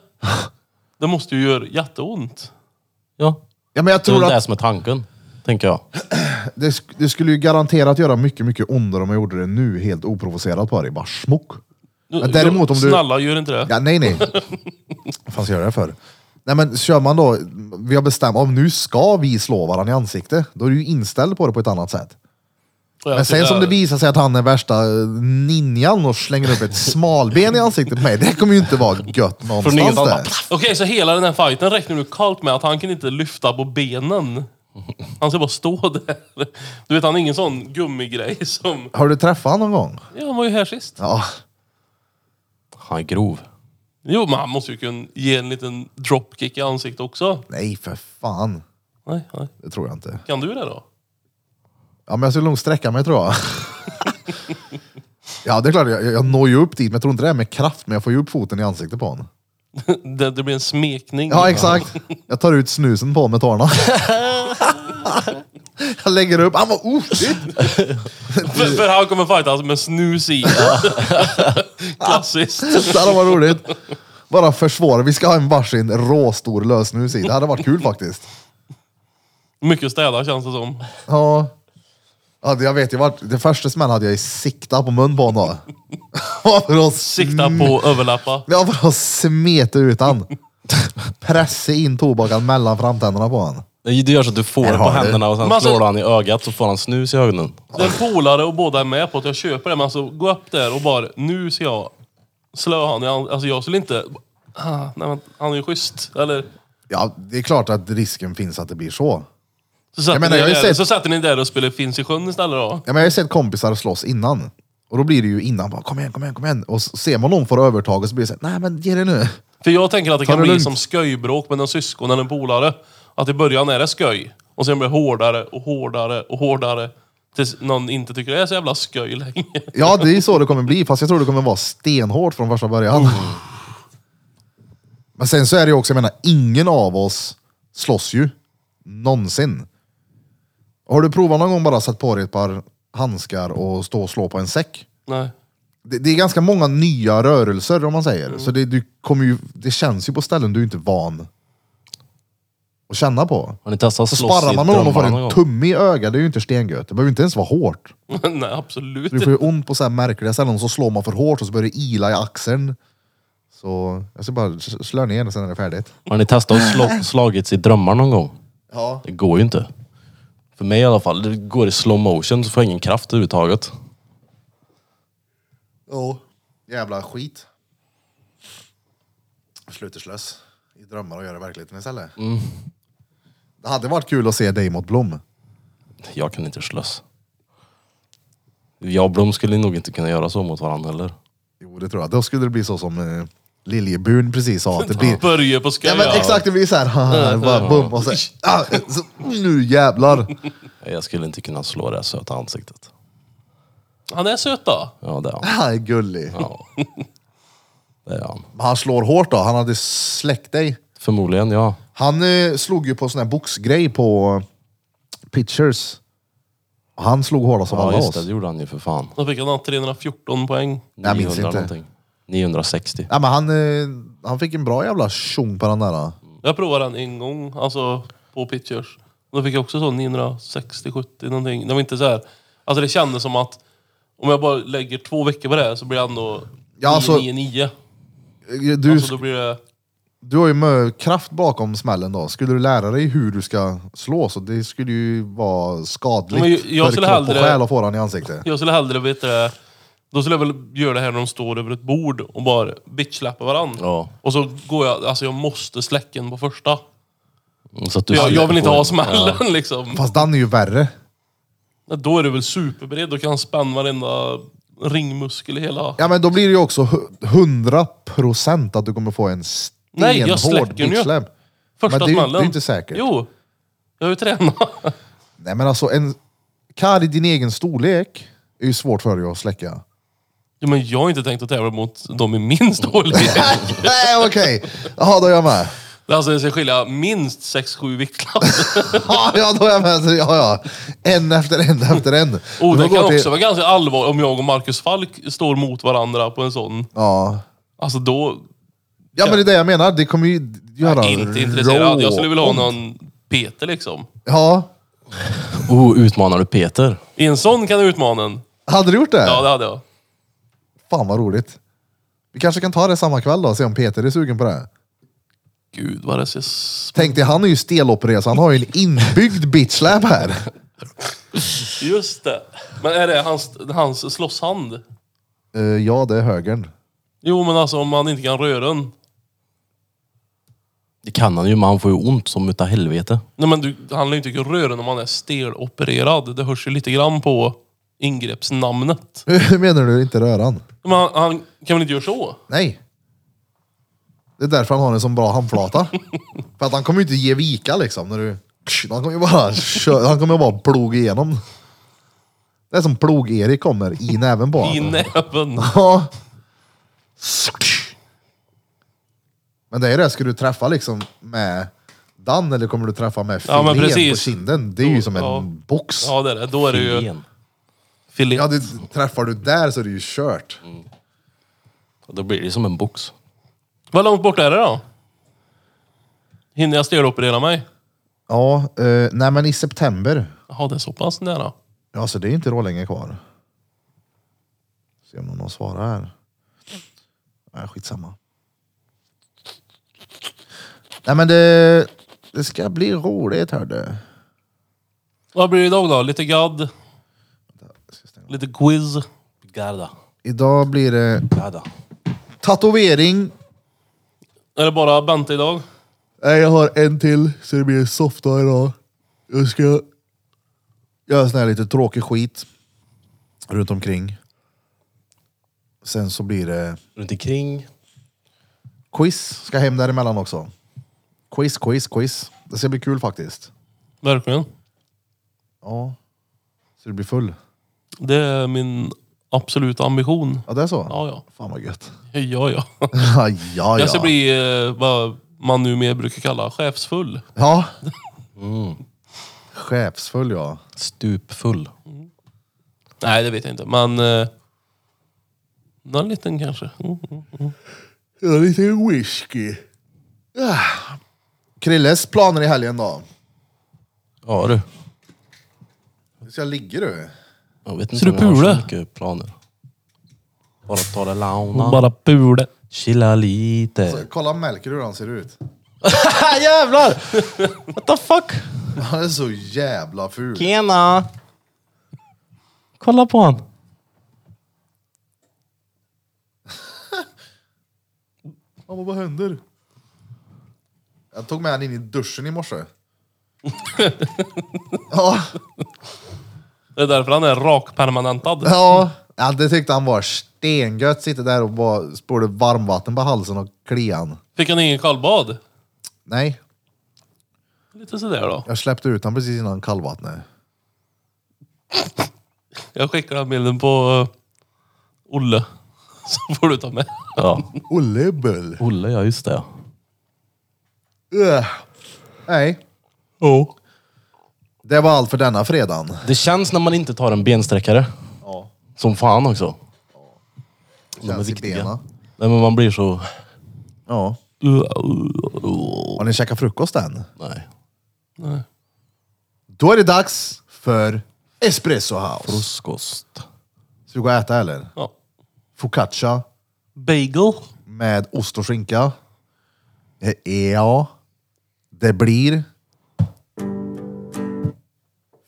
Det måste ju göra jätteont. Ja. Ja men jag Det är tror väl det att som är tanken, tänker jag. det, sk- det skulle ju garanterat göra mycket, mycket ondare om jag gjorde det nu helt oprovocerat på dig. Bara smock. Men däremot om du... Snälla, gör inte det. Ja, nej, nej. Vad fan ska jag göra det för? Nej men kör man då, vi har bestämt, om nu ska vi slå varandra i ansiktet, då är du ju inställd på det på ett annat sätt. Och jag Men sen sitter som här. det visar sig att han är värsta eh, ninjan och slänger upp ett smalben i ansiktet på mig, det kommer ju inte vara gött någonstans ingenstans där. Okej, så hela den här fighten räknar du kallt med att han kan inte lyfta på benen. Han ska bara stå där. Du vet, han är ingen sån gummigrej som... Har du träffat honom någon gång? Ja, han var ju här sist. Ja. Han är grov. Jo, men han måste ju kunna ge en liten dropkick i ansiktet också. Nej för fan, Nej, nej. det tror jag inte. Kan du det då? Ja men jag skulle nog sträcka mig tror jag. ja det är klart, jag, jag når ju upp dit, men jag tror inte det är med kraft, men jag får ju upp foten i ansiktet på honom. Det, det blir en smekning. Ja, exakt. Jag tar ut snusen på med tårna. Jag lägger upp. Han "Oh, var oskyldig. för, för han kommer fightas med snus i. Klassiskt. Det hade varit roligt. Bara försvåra. Vi ska ha en varsin råstor lösnus i. Det hade varit kul faktiskt. Mycket att städa känns det som. Ja. ja det- jag vet ju vart. Det första smällen hade jag i sikta på mun på honom. Ja, för att Sikta sm- på överlappa. Ja, för att smeta ut han. Pressa in tobaken mellan framtänderna på honom. Nej, Du gör så att du får det på har du. händerna och sen Men alltså- slår du han i ögat så får han snus i ögonen. Det är en polare och båda är med på att jag köper det, men alltså gå upp där och bara, nu ska jag slå han. Jag, alltså jag skulle inte... Ah, nej, men, han är ju schysst. Eller? Ja, det är klart att risken finns att det blir så. Så satte, Jag menar, ni jag har ju där, sett- så satte ni där och spelade Finns i sjön istället då? Ja, men jag har ju sett kompisar slåss innan. Och då blir det ju innan, bara, kom igen, kom igen, kom igen. Och så ser man någon får övertaget så blir det såhär, nej men ge det nu. För jag tänker att det Ta kan det bli lugnt. som sköjbråk mellan syskon eller en polare. Att i början är det sköj. Och sen blir det hårdare och hårdare och hårdare. Tills någon inte tycker det är så jävla sköj längre. Ja, det är så det kommer bli, fast jag tror det kommer vara stenhårt från första början. Oh. Men sen så är det ju också, jag menar, ingen av oss slåss ju. Någonsin. Har du provat någon gång bara satt på dig ett par handskar och stå och slå på en säck? Nej. Det, det är ganska många nya rörelser om man säger. Så det, du kommer ju, det känns ju på ställen du inte är van att känna på. Har ni testat Så slåss sparrar i man med någon och får drömmarna någon en gång? tumme i ögat, det är ju inte stengött. Det behöver ju inte ens vara hårt. Nej, absolut Du får ju ont på så här märkliga ställen och så slår man för hårt och så börjar det ila i axeln. Så jag ska bara s- slå ner och sen är det färdigt. Har ni testat att slå, slagits i drömmar någon gång? Ja. Det går ju inte. För mig i alla fall. Det går i slow motion så får jag ingen kraft överhuvudtaget. Oh. Jävla skit. Sluterslös. I drömmar och göra verkligheten istället. Det hade varit kul att se dig mot Blom. Jag kan inte slåss. Jag och Blom skulle nog inte kunna göra så mot varandra heller. Jo, det tror jag. Då skulle det bli så som eh, Liljebun precis sa. Att det blir... Börje på sköj. Ja, men exakt, det blir så här. haha, bara bum och så, ah, så, nu jävlar. Jag skulle inte kunna slå det här söta ansiktet. Han är söt då. Ja, det är han. Han är gullig. Ja. Det är han. Men Han slår hårt då, han hade släckt dig. Förmodligen, ja. Han eh, slog ju på sån här boxgrej på eh, Pitchers. Han slog hårdast som Ja alla just oss. det, det gjorde han ju för fan. Då fick han ha 314 poäng. Jag minns 900 inte. någonting. 960. Ja, men han, eh, han fick en bra jävla tjong på den där. eh. Jag provade den en gång, alltså på pitchers. Då fick jag också så 960-70 någonting. Det var inte så här. Alltså det kändes som att om jag bara lägger två veckor på det här så blir det ändå Ja, alltså- 999. Eh, Du, Alltså då blir det... du har ju mö- kraft bakom smällen då. Skulle du lära dig hur du ska slå så det skulle ju vara skadligt Men jag- jag för skulle kropp och hellre- själ att få den i ansiktet. Jag skulle hellre veta det. Då skulle jag väl göra det här när de står över ett bord och bara bitchlappa varandra. Ja. Och så går jag, alltså jag måste släcken på första. Så att du Jag, jag vill inte ha smällen Ja. liksom. Fast den är ju värre. Ja, Då är du väl superberedd, då kan han spänna varenda ringmuskel i hela... Ja men då blir det ju också hu- 100% att du kommer få en Nej, stenhård jag släcker den ju. bitchläpp. Första men det är ju- smällen. det är ju inte säkert. Jo. Jag har ju tränat. Nej men alltså en karl i din egen storlek är ju svårt för dig att släcka. Ja, men jag har inte tänkt att tävla mot dem i min storlek. Nej okej, ja då är jag med. Alltså det ska skilja minst 6-7 viktklasser. Ja, ja då är jag med. Ja, ja. En efter en efter en. Och Du Oh, det får kan gå till- också vara ganska allvarligt om jag och Marcus Falk står mot varandra på en sån. Ja. Alltså då... ja men det är det jag menar, det kommer ju göra Inte intresserad. rå- Jag skulle vilja ha någon Peter liksom. Ja, Oh, utmanar du Peter? I en sån kan du utmana en. hade du gjort det? Ja, det hade jag. Fan vad roligt. Vi kanske kan ta det samma kväll då och se om Peter är sugen på det. Gud vad det ser... s- Tänk dig, han är ju stelopererad så han har ju en inbyggd bitchlap här. Just det. Men är det hans, hans slåsshand? Eh, ja, det är högern. Jo men alltså om han inte kan röra den. Det kan han ju, men han får ju ont som utav helvete. Nej men du, han lär ju inte kunna röra den om han är stelopererad. Det hörs ju lite grann på ingreppsnamnet. Hur menar du? Inte röran? Men han, han kan väl inte göra så? Nej. Det är därför han har en sån bra handflata. För att han kommer ju inte ge vika liksom. När du... Han kommer ju bara, kö- han kommer bara plog igenom. Det är som plog-Erik kommer i näven på I honom. näven. Ja. Men det är det, ska du träffa liksom med Dan eller kommer du träffa med Ja, men filén på precis. kinden? Det är ju som en Ja. box. Ja det är det. Då är det ju Igen. filé. Ja, det, träffar du där så är det ju kört. Och Då blir det som en box. Vad långt bort är det då? Hinner jag steloperera mig? Ja, eh, nej men i september. Jaha, det är så pass nära. Ja, så det är inte då länge kvar. Se om någon svarar här. Nej, skitsamma. Nej men det, det ska bli roligt hörde. Vad blir det idag då? Lite gadd? Lite quiz? Garda. Idag blir det Garda. Tatuering. Är det bara Bente idag? Nej, jag har en till så det blir softa idag. Jag ska göra sån här lite tråkig skit runt omkring. Sen så blir det Runt omkring. quiz. Ska hem däremellan också. Quiz, quiz, quiz. Det ska bli kul faktiskt. Verkligen. Ja. Så det blir full. Det är min absoluta ambition. Ja, det är så? Ja, ja. Fan vad gött. Ja, ja. ja, ja. Jag ska bli eh, vad man numera brukar kalla chefsfull. Ja. Mm. Chefsfull ja. Stupfull. Nej, det vet jag inte. Men... Eh, någon liten kanske. Mm. Ja, lite whisky. Ja. Krilles planer i helgen då? Ja du. Hur ska jag ligga du? Jag vet Så inte du om jag har pula? så mycket planer. Bara ta det launa. Bara pule. Chilla lite. Alltså, Kolla Melker hur han ser ut. Jävlar! What the fuck? Han är så jävla ful. Tjena! Kolla på han. Ja, men vad händer? Jag tog med han in i duschen i morse. ja, Det är därför han är rakpermanentad. ja. ja, det tyckte han var stengött. Sitta där och bara spolade varmvatten på halsen och klian. Fick han ingen kallbad? Nej, Lite sådär då. jag släppte ut han precis innan kallvattnet. Jag skickar den bilden på eh, Olle. Så får du ta med. Ja. Olle Bull. Olle, ja just det. Ugh. Nej, Oh. det var allt för denna fredagen. Det känns när man inte tar en bensträckare. Som fan också. De är Känns i viktiga. bena. Nej, men man blir så... Ja. Har ni käkat frukost än? Nej. Då är det dags för Espresso House. Frukost. Ska vi gå och äta eller? Ja. Focaccia Bagel. med ost och skinka. Eh, Ja, det blir...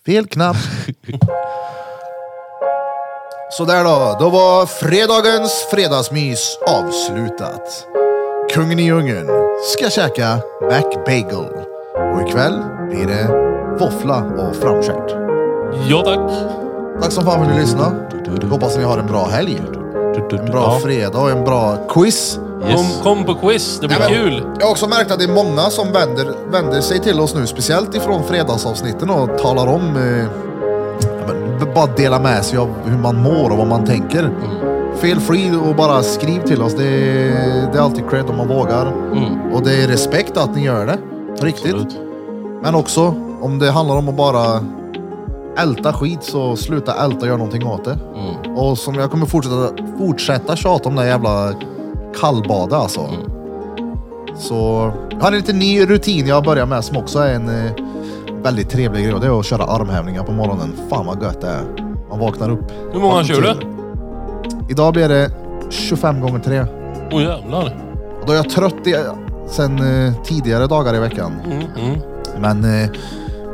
Fel knapp. Sådär då, då var fredagens fredagsmys avslutat. Kungen i djungeln ska käka McBagel. Och ikväll blir det våffla och framskärt. Ja tack. Tack som fan för att ni lyssnade. Hoppas ni har en bra helg. En bra fredag och en bra quiz. Yes. Kom, kom på quiz, det blir Nej, men- kul. Jag har också märkt att det är många som vänder, vänder sig till oss nu, speciellt ifrån fredagsavsnitten och talar om, eh, ja, men, b- bara dela med sig av hur man mår och vad man tänker. Mm. Feel free och bara skriv till oss. Det är, det är alltid cred om man vågar. Mm. Och det är respekt att ni gör det. Riktigt. Men också, om det handlar om att bara älta skit så sluta älta och gör någonting åt det. Mm. Och som jag kommer fortsätta, fortsätta tjata om det här jävla kallbadet alltså. Mm. Så jag har en liten ny rutin jag börjar med som också är en eh, väldigt trevlig grej och det är att köra armhävningar på morgonen. Fan vad gött det är. Man vaknar upp. Hur många kör du? Idag blir det 25 gånger 3 och Åh jävlar. då är jag trött i, sen eh, tidigare dagar i veckan. Mm, Men eh,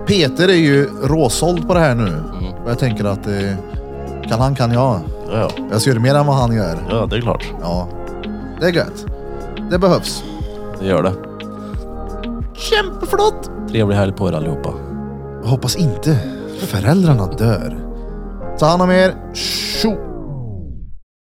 Peter är ju råsåld på det här nu och jag tänker att eh, kan han kan jag. Ja, Jag ser mer än vad han gör. ja, det är klart. Ja, det är gött. Det behövs. Det gör det. Kämpeflott! Trevlig helg på er allihopa. Jag hoppas inte föräldrarna dör. Ta hand om er. Tjo!